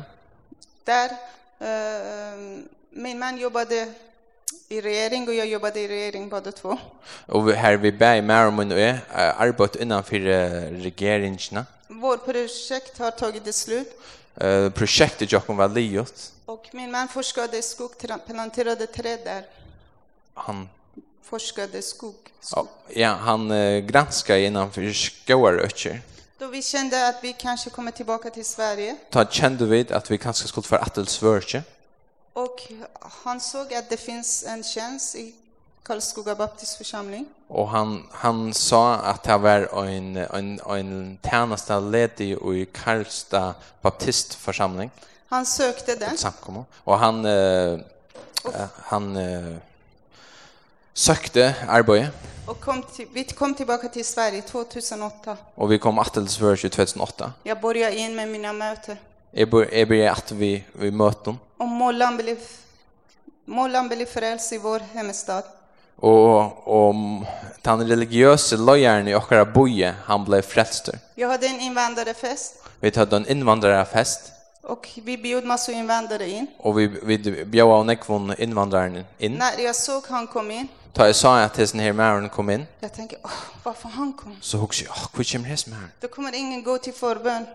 Speaker 1: Där, eh, min man jobbade i regering och jag jobbade i regering båda två.
Speaker 2: Och vi- här vi bär i Märmund och jag eh, arbetar innanför eh, regeringarna.
Speaker 1: Vårt projekt har tagit det slut
Speaker 2: Eh, projektet jag kommer vara livet.
Speaker 1: och min man forskade i skog, tra- planterade träd där.
Speaker 2: Han
Speaker 1: Forskade skog. skog.
Speaker 2: ja, han eh, granskar innanför skoarötter.
Speaker 1: Då vi kände att vi kanske kommer tillbaka till Sverige
Speaker 2: Ta kjente vi at vi kanskje skulle for atel svørkje.
Speaker 1: och han såg att det finns en tjänst i Karlskoga baptistförsamling.
Speaker 2: Og han, han sa at det var en, en, en tjeneste ledig i Karlstad baptistforsamling,
Speaker 1: Han søkte den
Speaker 2: samkommer. Og han, eh, eh, han eh, søkte arbeidet,
Speaker 1: och kom till, vi kom tillbaka till Sverige 2008.
Speaker 2: og vi kom atel svørkje i 2008.
Speaker 1: Jag började in med mina möten
Speaker 2: Jeg bør- jeg blir at vi, vi møter dem.
Speaker 1: och Mollan blev, Mollan blev frälst i vår hemstad.
Speaker 2: Og om den religiøse løyeren i okkara boje, han ble frelster.
Speaker 1: Jag hade en invandrarfest
Speaker 2: Vi tatt en innvandrarfest,
Speaker 1: och vi bjöd massor invandrare in.
Speaker 2: og vi, vi bjød av nekvån innvandraren inn.
Speaker 1: När jag såg han kom in,
Speaker 2: Ta jeg sa at hesten her mæren kom inn,
Speaker 1: jag tänkte, åh, varför han kom?
Speaker 2: så hugsi, åh, hvor kommer hesten mæren?
Speaker 1: Då kommer ingen gå till förbön.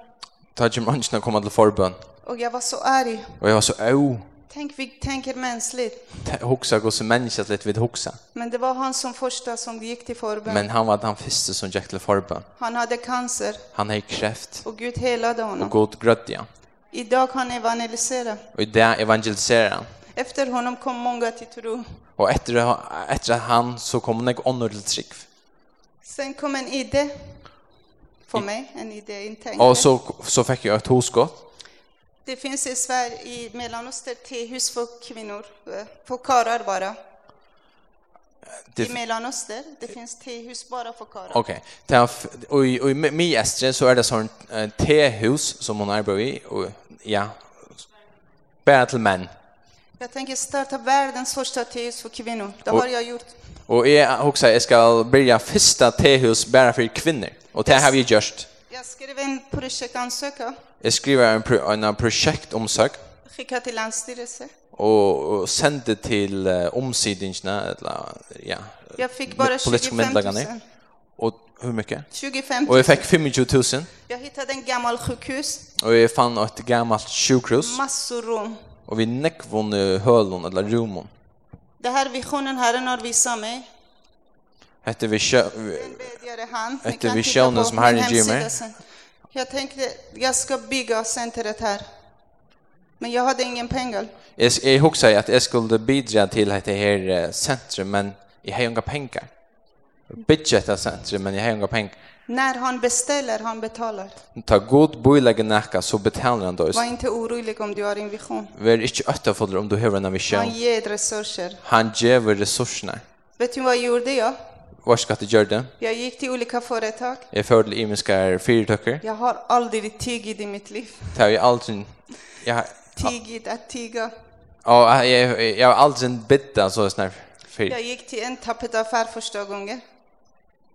Speaker 2: Ta jeg kommer ønsken å komme til forbøn.
Speaker 1: Och jag var så arg.
Speaker 2: Og jeg var så, au,
Speaker 1: Tänk, vi tänker mänskligt.
Speaker 2: te- hugsa gos mennesket litt vid hugsa.
Speaker 1: Men det var han som första som gick till förbön.
Speaker 2: Men han var den første som gikk til forbøn.
Speaker 1: Han hade cancer
Speaker 2: Han hei kreft,
Speaker 1: och Gud helade honom.
Speaker 2: god grødde han.
Speaker 1: Idag han evangeliserar.
Speaker 2: Og i det evangeliserer han.
Speaker 1: Efter honom kom många till tro.
Speaker 2: Og etter, etter han så kom han ikke ånder til trygg.
Speaker 1: Sen kom en idé för mig, en idé intänkt.
Speaker 2: Og så, så fikk jeg et hosgått.
Speaker 1: Det finns i Sverige, i Mellanöstern, tehus för kvinnor, eh, för karlar bara.
Speaker 2: Det,
Speaker 1: I Mellanöstern, det finns tehus bara för karlar.
Speaker 2: Okej. Okay. Och er i och i mi estre så är det sån eh, tehus som hon arbetar i och ja. Bara till män.
Speaker 1: Jag tänker starta världens första tehus för kvinnor. Det
Speaker 2: Och-
Speaker 1: har jag gjort.
Speaker 2: Och jag också jag ska börja första tehus bara för kvinnor. Och det har vi just.
Speaker 1: Jag skrev en projektansökan,
Speaker 2: Jag skriver en pro, en projektomsök
Speaker 1: skickade till länsstyrelsen.
Speaker 2: och, och sänder till uh, omsidningarna eller ja.
Speaker 1: Jag fick bara
Speaker 2: Politiska
Speaker 1: 25
Speaker 2: myndigheterna
Speaker 1: 000.
Speaker 2: Och hur mycket?
Speaker 1: 25
Speaker 2: Och
Speaker 1: 000.
Speaker 2: jag fick 25 000
Speaker 1: Jag hittade en gammal sjukhus,
Speaker 2: och jag fann ett gammalt sjukhus
Speaker 1: massor rum.
Speaker 2: och vi neckvon hölon eller rumon.
Speaker 1: Det här visionen Herren har visat mig.
Speaker 2: Hette vi kö-
Speaker 1: En bedjare hand.
Speaker 2: Ett visioner som Herren ger mig.
Speaker 1: Jag tänkte, jag ska bygga centret här. Men jag hade ingen pengar.
Speaker 2: Jeg, jeg husker at jeg skulle bidra til dette her eh, sentrum, men jeg har inga penger. Bidja etter sentrum, men jeg har inga penger.
Speaker 1: När han beställer, han betalar.
Speaker 2: Ta god boilegge nekka, så betaler han døys.
Speaker 1: Var inte orolig om du har en vision.
Speaker 2: Vær ikke øtterfodder om du har en
Speaker 1: Han
Speaker 2: visjon.
Speaker 1: ger resurser.
Speaker 2: Han gjever resursene.
Speaker 1: Vet du vad jag gjorde jag?
Speaker 2: Hva skal du gjøre det?
Speaker 1: Jag gick till olika företag.
Speaker 2: Jeg fører til imenskar fyrtøkker.
Speaker 1: Jag har aldrig tigit i mitt liv.
Speaker 2: Det har jeg aldri... Jeg har,
Speaker 1: Tigit att tiga.
Speaker 2: og jeg, jeg, jeg har aldri bitt en sånn her fyr.
Speaker 1: Jag gick till en tapetaffär första gången.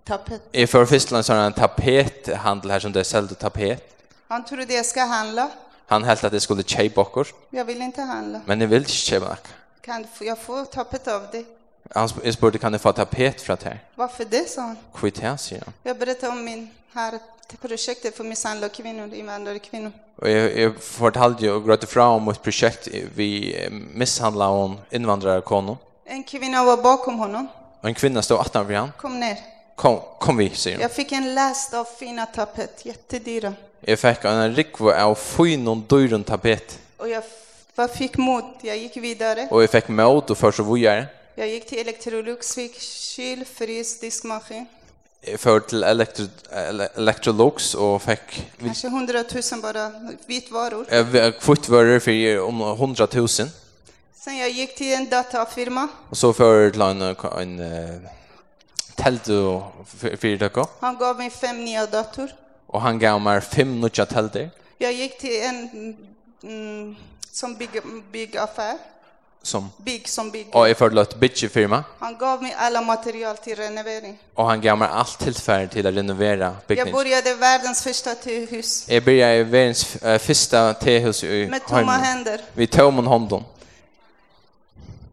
Speaker 1: Tapet.
Speaker 2: Jeg fører først til en sånn tapethandel her som det er selgt tapet.
Speaker 1: Han trodde jag ska handla.
Speaker 2: Han helt at jeg skulle kjøpe okkur,
Speaker 1: Jag vill inte handla.
Speaker 2: men jeg vil ikke kjøpe okkur.
Speaker 1: Kan du få, jag får tappet av dig.
Speaker 2: Han sp jag spurte kan du få tapet från det här?
Speaker 1: Varför det, sa han.
Speaker 2: Skit här, säger han.
Speaker 1: Jag berättade om min här till projektet för misshandlade kvinnor, invandrade kvinnor.
Speaker 2: Och jag, jag fortalde ju och grötte fram om ett projekt vi eh, misshandlade hon invandrare kono.
Speaker 1: En kvinna var bakom honom.
Speaker 2: Och en kvinna stod åtta vid han.
Speaker 1: Kom ner.
Speaker 2: Kom, kom vi, säger hon.
Speaker 1: Jag fick en läst av fina tapet, jättedyra.
Speaker 2: Jag fick en rikvo av fynon dyron tapet.
Speaker 1: Och jag, f- jag fick mod. Jag gick vidare.
Speaker 2: Och jag fick mod och för så vujare.
Speaker 1: Jag gick till Electrolux, fick kyl, frys, diskmaskin.
Speaker 2: Jag för till elektro, ele, Electrolux och fick
Speaker 1: Kanske hundratusen bara vitvaror.
Speaker 2: kvittvörare för om 100 000.
Speaker 1: Sen jag gick till en datafirma.
Speaker 2: Och så för jag till en, en, en tält och fyrtöcker.
Speaker 1: Han gav mig fem nya dator.
Speaker 2: Och han gav mig fem nutja tälter
Speaker 1: Jag gick till en mm, som bygg, byggaffär.
Speaker 2: som
Speaker 1: Bygg som bygg.
Speaker 2: och är förlåt bitchy firma
Speaker 1: Han gav mig alla material till renovering.
Speaker 2: och han gav mig allt tillfälle till att renovera
Speaker 1: Jag
Speaker 2: byggnaden.
Speaker 1: började världens första hus
Speaker 2: Jag började i världens eh, första tehus i
Speaker 1: med tomma
Speaker 2: Holmen.
Speaker 1: händer.
Speaker 2: Vi tog min hånden.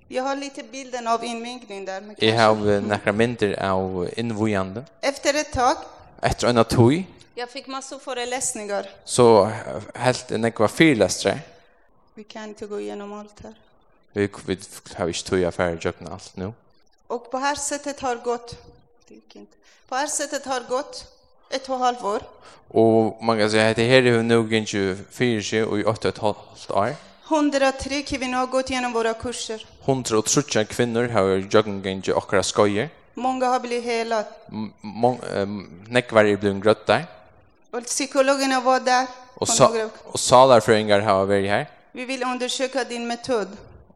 Speaker 1: Jag har lite bilden av invigningen där. Men
Speaker 2: Jag
Speaker 1: kanske-
Speaker 2: har eh, några mindre av invojande.
Speaker 1: Efter ett tag,
Speaker 2: Efter en tog
Speaker 1: jag fick massor föreläsningar.
Speaker 2: så eh, helt en ekva fyrlästare.
Speaker 1: Vi kan inte gå igenom allt här.
Speaker 2: Vi, vi har inte tog affärer jökna allt nu.
Speaker 1: Och på här sättet har gått. Det gick inte. På här sättet har gått. ett och ett halvt år.
Speaker 2: Og man kan säga att det här är nog inte fyra sig och i åtta och ett halvt år.
Speaker 1: 103 kvinnor har gått igenom våra kurser.
Speaker 2: Hundra och trutja kvinnor har joggingen i okra skojer. eh,
Speaker 1: Många har blivit helade.
Speaker 2: Nekvar är blivit grött där.
Speaker 1: Och psykologerna var där. på
Speaker 2: Och, sa,
Speaker 1: några-
Speaker 2: och salarfröingar har varit här.
Speaker 1: Vi vill undersöka din metod.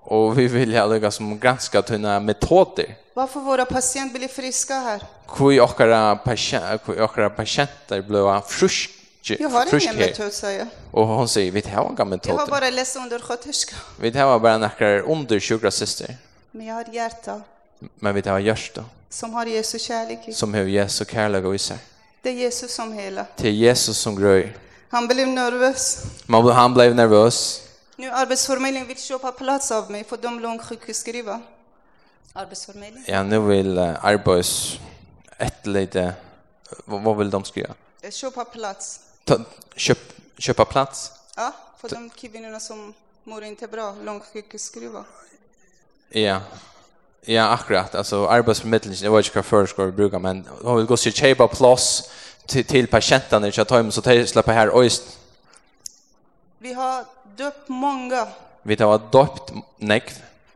Speaker 2: Och vi vill ha lukka som granska tunna metoder.
Speaker 1: Varför våra patienter blir friska här?
Speaker 2: Kui okra patient, kui okra patienter blåa frusk.
Speaker 1: Jag har ingen
Speaker 2: fruskhet.
Speaker 1: metod, säger jag.
Speaker 2: Och hon säger, vi har inga
Speaker 1: Jag har
Speaker 2: metoder.
Speaker 1: bara läst undersköterska.
Speaker 2: Vi har bara några undersjukra syster.
Speaker 1: Men jag har ett hjärta
Speaker 2: Men vi har hjärsta
Speaker 1: som har Jesu kärlek i.
Speaker 2: som har Jesu kärlek och isär.
Speaker 1: Det är Jesus som hela.
Speaker 2: Det är Jesus som gröjer.
Speaker 1: Han blev nervös.
Speaker 2: Man, han blev nervös.
Speaker 1: Nu Arbetsförmedlingen vill köpa plats av mig för de långssjukskrivna. Arbetsförmedlingen?
Speaker 2: Ja, nu vill uh, arbets ett lite vad, vad vill de skriva?
Speaker 1: Eh, Köpa plats.
Speaker 2: Ta, köp köpa plats.
Speaker 1: Ja, för de kvinnorna som mår inte bra, långssjukskrivna.
Speaker 2: Ja. Ja, akkurat. Alltså arbetsförmedlingen, det var inte vad för ska vi bruka, men de vill gå sig köpa plats till till patienterna så tar dem så tar släppa här och just
Speaker 1: Vi har döpt många.
Speaker 2: vi tar vad dopt neck.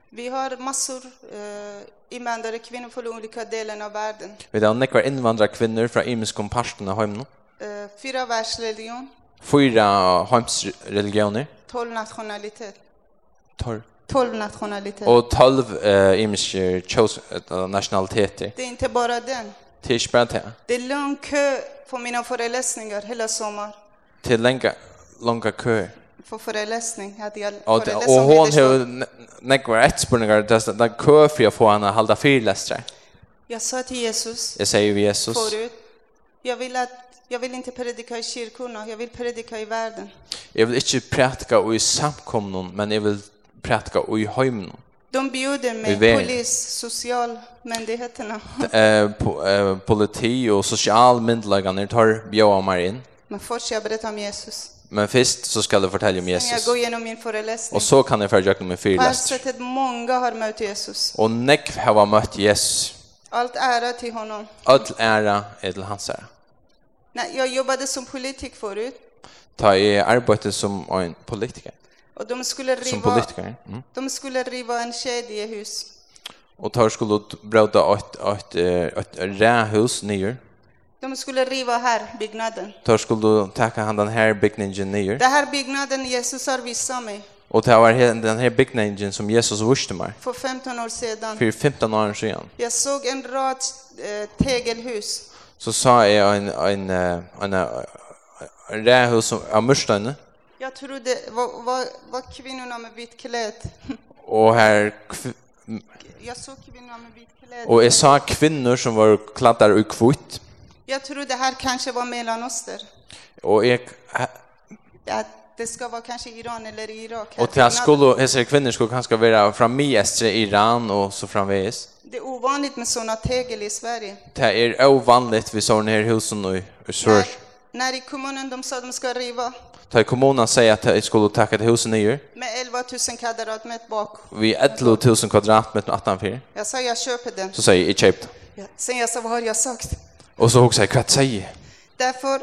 Speaker 1: Vi har massor eh, invandrare kvinnor från olika delar av världen.
Speaker 2: Vi tar neck var invandrar kvinnor från imiskon parterna hem.
Speaker 1: Eh, fyra världsreligion,
Speaker 2: Fyra hemsreligioner.
Speaker 1: tolv nationalitet.
Speaker 2: Tor
Speaker 1: Tolv nationaliteter.
Speaker 2: och 12 eh imiska chose eh, nationaliteter.
Speaker 1: Det är inte bara den.
Speaker 2: Det är inte bara det.
Speaker 1: Det är lång kö för mina föreläsningar hela sommaren.
Speaker 2: till långa långa köer.
Speaker 1: För föreläsning hade jag
Speaker 2: Och och hon har några ettspurningar där den kö för att få henne att hålla fyrlästra.
Speaker 1: Jag sa till Jesus
Speaker 2: Jag säger ju Jesus.
Speaker 1: förut, jag vill, att, jag vill inte predika i kyrkorna, jag vill predika i världen.
Speaker 2: Jag vill inte prätka i samkomnen, men jag vill prätka i hemmen.
Speaker 1: De bjuder
Speaker 2: I
Speaker 1: mig,
Speaker 2: världen.
Speaker 1: polis, socialmyndigheterna.
Speaker 2: Eh po- eh, politi och socialmyndigheterna tar bjöa mig in.
Speaker 1: Men först jag berättar om Jesus.
Speaker 2: Men först så ska jag fortälja om
Speaker 1: Sen jag går
Speaker 2: Jesus.
Speaker 1: igenom min föreläsning.
Speaker 2: Och så kan jag försöka med
Speaker 1: På det här
Speaker 2: fyrlästra.
Speaker 1: sättet många har mött Jesus.
Speaker 2: Och nekv har mött Jesus.
Speaker 1: Allt ära till honom.
Speaker 2: Öll ära är till hans ära.
Speaker 1: Nej, jag jobbade som politiker förut
Speaker 2: Ta i arbete som en politiker.
Speaker 1: och de skulle
Speaker 2: Som
Speaker 1: riva,
Speaker 2: politiker. Mm.
Speaker 1: de skulle riva en kedjehus.
Speaker 2: Och tar skulle bråda ett ett ett rähus nyer.
Speaker 1: De skulle riva här byggnaden.
Speaker 2: Tar skulle tacka han den här byggnaden nyer.
Speaker 1: Det här byggnaden Jesus har visat mig
Speaker 2: Och det var he- den här byggnaden som Jesus visste mig
Speaker 1: för 15 år sedan.
Speaker 2: för 15 år sedan.
Speaker 1: Jag såg en rad eh, tegelhus.
Speaker 2: Så sa jag en en eh, en eh, en rähus som av murstein
Speaker 1: Jag trodde var, var, var kvinnorna med vitt klädd.
Speaker 2: och här kv-
Speaker 1: Jag såg kvinnorna med vitt klädd.
Speaker 2: och jag sa kvinnor som var kladdar i kvitt
Speaker 1: Jag trodde det här kanske var Mellanöster.
Speaker 2: och jag
Speaker 1: Att det ska vara kanske Iran eller Irak. här
Speaker 2: och till
Speaker 1: byggnaden.
Speaker 2: skulle jag säger kvinnor skulle kanske vara från Miestre Iran och så framvis.
Speaker 1: Det är ovanligt med sådana tegel i Sverige.
Speaker 2: Det är ovanligt vi sån här husen i i Sverige.
Speaker 1: När, när i kommunen de sa att de ska riva
Speaker 2: Ta kommunen säger att jag skulle tacka till husen nyer.
Speaker 1: med 11 000 kvadratmeter bak.
Speaker 2: Vi 11 000 kvadratmeter med 18 fyr.
Speaker 1: Jag sa jag köper den.
Speaker 2: Så säger jag köpt.
Speaker 1: Ja, Sen jag sa vad har jag sagt?
Speaker 2: Och så hugger jag kvart säger.
Speaker 1: Därför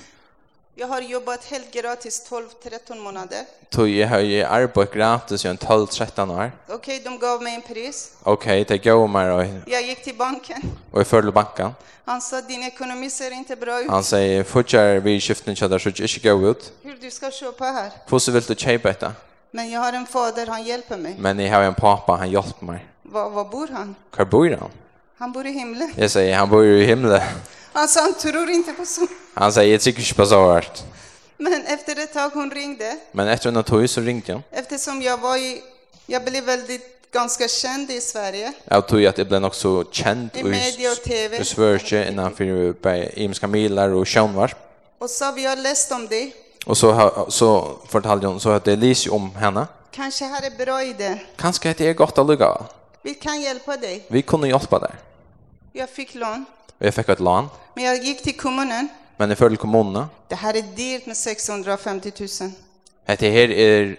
Speaker 1: jag har jobbat helt gratis 12-13 månader.
Speaker 2: Tog jag har ju arbetat gratis i en 12-13 år.
Speaker 1: Okej, de gav mig en pris.
Speaker 2: Okej, det går mig och,
Speaker 1: Jag gick till banken.
Speaker 2: och jag följer banken.
Speaker 1: Han sa din ekonomi ser inte bra ut.
Speaker 2: Han säger, fortsätter vi skiften kjödar så det inte går ut.
Speaker 1: Hur du ska köpa här?
Speaker 2: Fosse vill du köpa detta?
Speaker 1: Men jag har en fader, han hjälper mig.
Speaker 2: Men jag har en pappa, han hjälper mig.
Speaker 1: Var, var bor han?
Speaker 2: Var bor han?
Speaker 1: Han bor i himlen.
Speaker 2: Jag säger, han bor ju i himlen.
Speaker 1: Han sa han tror inte på så.
Speaker 2: Han säger, jag tycker inte på så vart.
Speaker 1: Men efter ett tag hon ringde.
Speaker 2: Men efter en tog så ringde jag.
Speaker 1: Eftersom jag var i, jag blev väldigt ganska känd i Sverige.
Speaker 2: Jag tror ju att det blev också känt
Speaker 1: I media och TV.
Speaker 2: i Sverige innan för på imiska milar och sjönvarp.
Speaker 1: Och sa vi har läst om dig.
Speaker 2: Och så har- så fortalde hon så att det lyser om henne.
Speaker 1: Kanske här är bra idé.
Speaker 2: Kanske att det är gott att lugga.
Speaker 1: Vi kan hjälpa dig.
Speaker 2: Vi kunde hjälpa där.
Speaker 1: Jag fick lån.
Speaker 2: Och jag fick ett lån,
Speaker 1: Men jag gick till kommunen.
Speaker 2: men det följde kommunen.
Speaker 1: Det här är dyrt med 650 000.
Speaker 2: Att det här är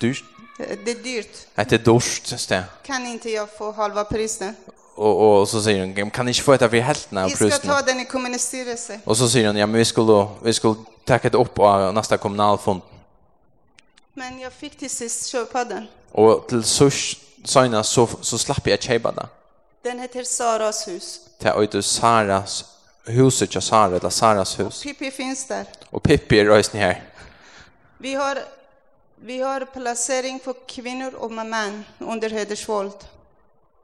Speaker 2: dyrt.
Speaker 1: Eh, Det är dyrt.
Speaker 2: Att det är dyrt sted.
Speaker 1: Kan inte jag få halva priset?
Speaker 2: och och så säger hon kan ni inte få ett av er hälterna och
Speaker 1: Vi ska
Speaker 2: prusten.
Speaker 1: ta den i kommunstyrelse.
Speaker 2: Och så säger hon ja men vi skulle vi skulle tacka det upp på nästa kommunalfond.
Speaker 1: Men jag fick till sist köpa den.
Speaker 2: Och till så såna så så slapp jag köpa det.
Speaker 1: Den heter Saras hus.
Speaker 2: Till ut Saras huset jag Sara eller Saras hus.
Speaker 1: Pippi finns där.
Speaker 2: Och Pippi är rösten här.
Speaker 1: Vi har, vi har placering för kvinnor och män under hedersvåld.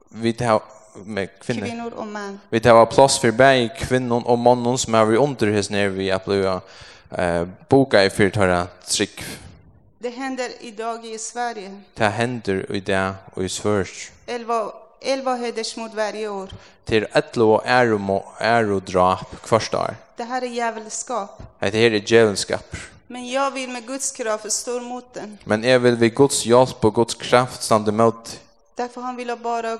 Speaker 2: Vi tar med kvinnor.
Speaker 1: Kvinnor och män.
Speaker 2: Vi tar av plats för bäg kvinnon och mannen som är vi underhus när vi är blivit eh, boka i fyrtara trick.
Speaker 1: Det händer idag i Sverige.
Speaker 2: Det händer i det och i svörs.
Speaker 1: Elva, elva hedersmord varje år.
Speaker 2: Till ett lov är och drap första år.
Speaker 1: Det här är djävulskap.
Speaker 2: Det här är djävulskap.
Speaker 1: Men jag vill med Guds kraft stå mot den.
Speaker 2: Men jag vill vid Guds hjälp och Guds kraft stanna emot
Speaker 1: Därför han vill ha bara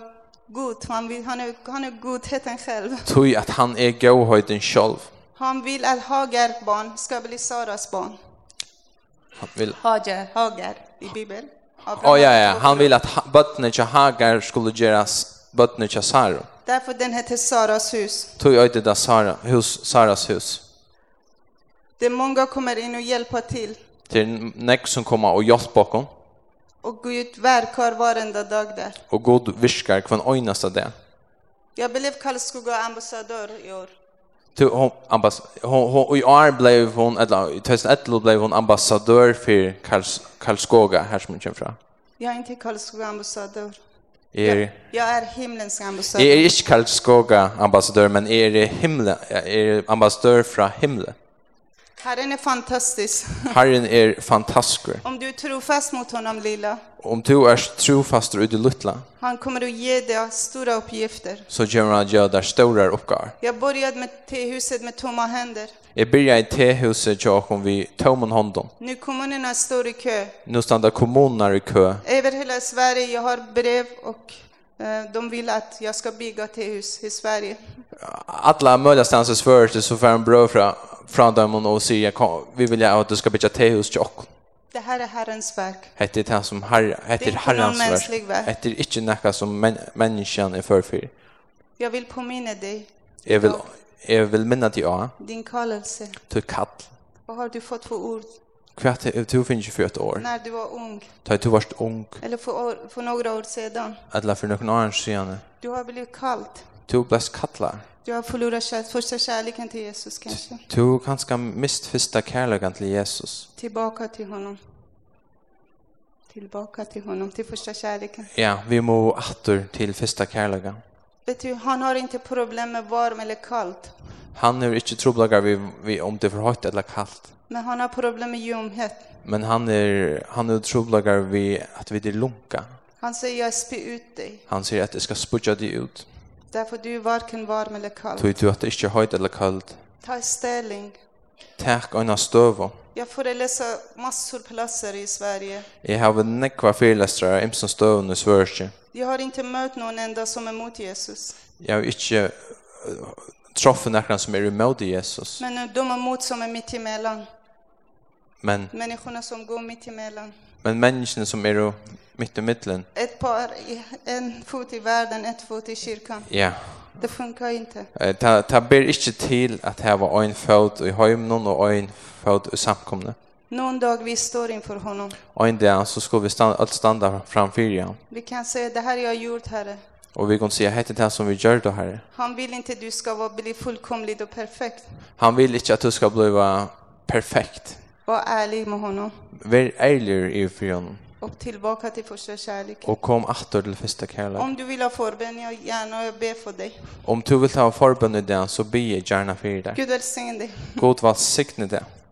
Speaker 1: god. Han, vill, han, är, han är godheten själv.
Speaker 2: tog att han är gåhöjden själv.
Speaker 1: Han vill att Hagar barn ska bli Saras barn.
Speaker 2: Han vill
Speaker 1: Hagar, Hagar i Bibeln. Abraham.
Speaker 2: Oh, ja, ja. Han vill att ha- bötterna till Hagar skulle göras bötterna till Sara.
Speaker 1: Därför den heter Saras hus.
Speaker 2: Tog jag det där Sara, hus, Saras hus.
Speaker 1: Det är många kommer in och hjälper till.
Speaker 2: Det är nek som kommer och hjälper bakom.
Speaker 1: Och Gud verkar varenda dag där.
Speaker 2: Och god viskar kvann ojnasta det.
Speaker 1: Jag blev Karlskoga ambassadör i år.
Speaker 2: Tu hon ambass hon hon i år blev hon eller i 2011 blev hon ambassadör för Karls Karlskoga här som hon kommer från.
Speaker 1: Jag är inte Karlskoga ambassadör.
Speaker 2: Är
Speaker 1: Jag är himlens ambassadör.
Speaker 2: är inte Karlskoga ambassadör men är det himla är er ambassadör från himlen.
Speaker 1: Herren är fantastisk.
Speaker 2: Herren är fantastisk.
Speaker 1: Om du tror fast mot honom lilla,
Speaker 2: Om du är trofast ut i Lutla
Speaker 1: han kommer att ge dig stora uppgifter.
Speaker 2: så kommer han att göra där stora uppgifter.
Speaker 1: Jag började med tehuset med tomma händer.
Speaker 2: Jag börjar i tehuset jag kom vid Tomon Hondon.
Speaker 1: Nu kommunerna står i kö.
Speaker 2: Nu stannar kommuner i kö
Speaker 1: Över hela Sverige, jag har brev och eh, de vill att jag ska bygga tehus i Sverige.
Speaker 2: alla möjliga stanser svörs så får en bröd från från dem och säger "Kom, vi vill att du ska byta tehus till oss.
Speaker 1: Det här är Herrens verk.
Speaker 2: Hette det här som herre,
Speaker 1: Det
Speaker 2: hette
Speaker 1: är inte
Speaker 2: herrans
Speaker 1: någon
Speaker 2: vers.
Speaker 1: mänsklig värld.
Speaker 2: Hette det inte något som män, människan är för för.
Speaker 1: Jag vill påminna dig,
Speaker 2: Jag vill jag vill minna dig av
Speaker 1: din kallelse.
Speaker 2: till er kall. er-
Speaker 1: Vad har du fått för ord
Speaker 2: Kvart du finns ju för ett år.
Speaker 1: när du var ung?
Speaker 2: Ta du varst ung
Speaker 1: Eller för, år, för några år sedan?
Speaker 2: eller för någon annan sedan.
Speaker 1: Du har blivit kallt.
Speaker 2: Du blir er kallar.
Speaker 1: Du har förlorat kär, första kärleken till Jesus kanske.
Speaker 2: Du kanske mist första kärleken till Jesus.
Speaker 1: Tillbaka till honom. Tillbaka till honom, till första kärleken.
Speaker 2: Ja, vi må åter till första kärleken.
Speaker 1: Vet du, han har inte problem med varm eller kallt.
Speaker 2: Han är inte troblagar vi, vi om er det är för högt eller kallt.
Speaker 1: Men han har problem med ljumhet.
Speaker 2: Men er, han är han är troblagar vi att vi det lunka.
Speaker 1: Han säger jag spyr ut dig.
Speaker 2: Han säger att det ska spudja dig ut.
Speaker 1: Därför du är varken varm eller kall.
Speaker 2: Tog du att det inte är högt eller kallt.
Speaker 1: Ta ställning.
Speaker 2: Tack ena stöva.
Speaker 1: Jag föreläser massor platser i Sverige.
Speaker 2: Jag har en nekva föreläsare i som stöv i Sverige.
Speaker 1: Jag har inte mött någon enda som är emot Jesus.
Speaker 2: Jag har inte troffat någon som är emot Jesus.
Speaker 1: Men nu, de är emot som är mitt emellan.
Speaker 2: Men,
Speaker 1: Människorna som går mitt emellan.
Speaker 2: men människorna som är mitt i mitten.
Speaker 1: Ett par, i- en fot i världen, ett fot i kyrkan.
Speaker 2: Ja.
Speaker 1: Det funkar inte.
Speaker 2: Eh, Ta, ta ber inte till att ha en fot i hemmen och en fot i samkomna.
Speaker 1: Någon dag vi står inför honom.
Speaker 2: Och en dag så skulle vi stanna, allt stanna framför igen.
Speaker 1: Vi kan säga, det här jag har gjort, Herre.
Speaker 2: Och vi kan säga, hette det här som vi gör då här.
Speaker 1: Han vill inte du ska vara, bli fullkomlig och perfekt.
Speaker 2: Han vill inte att du ska bli perfekt.
Speaker 1: Var ärlig med honom.
Speaker 2: Vär ärlig i för honom.
Speaker 1: Och tillbaka till första kärleken.
Speaker 2: Och kom åter till första kärlek.
Speaker 1: Om du vill ha förbön, jag gärna jag ber för dig.
Speaker 2: Om du vill ta förbön i det så be jag gärna för dig.
Speaker 1: Gud välsigne dig.
Speaker 2: God välsigne det.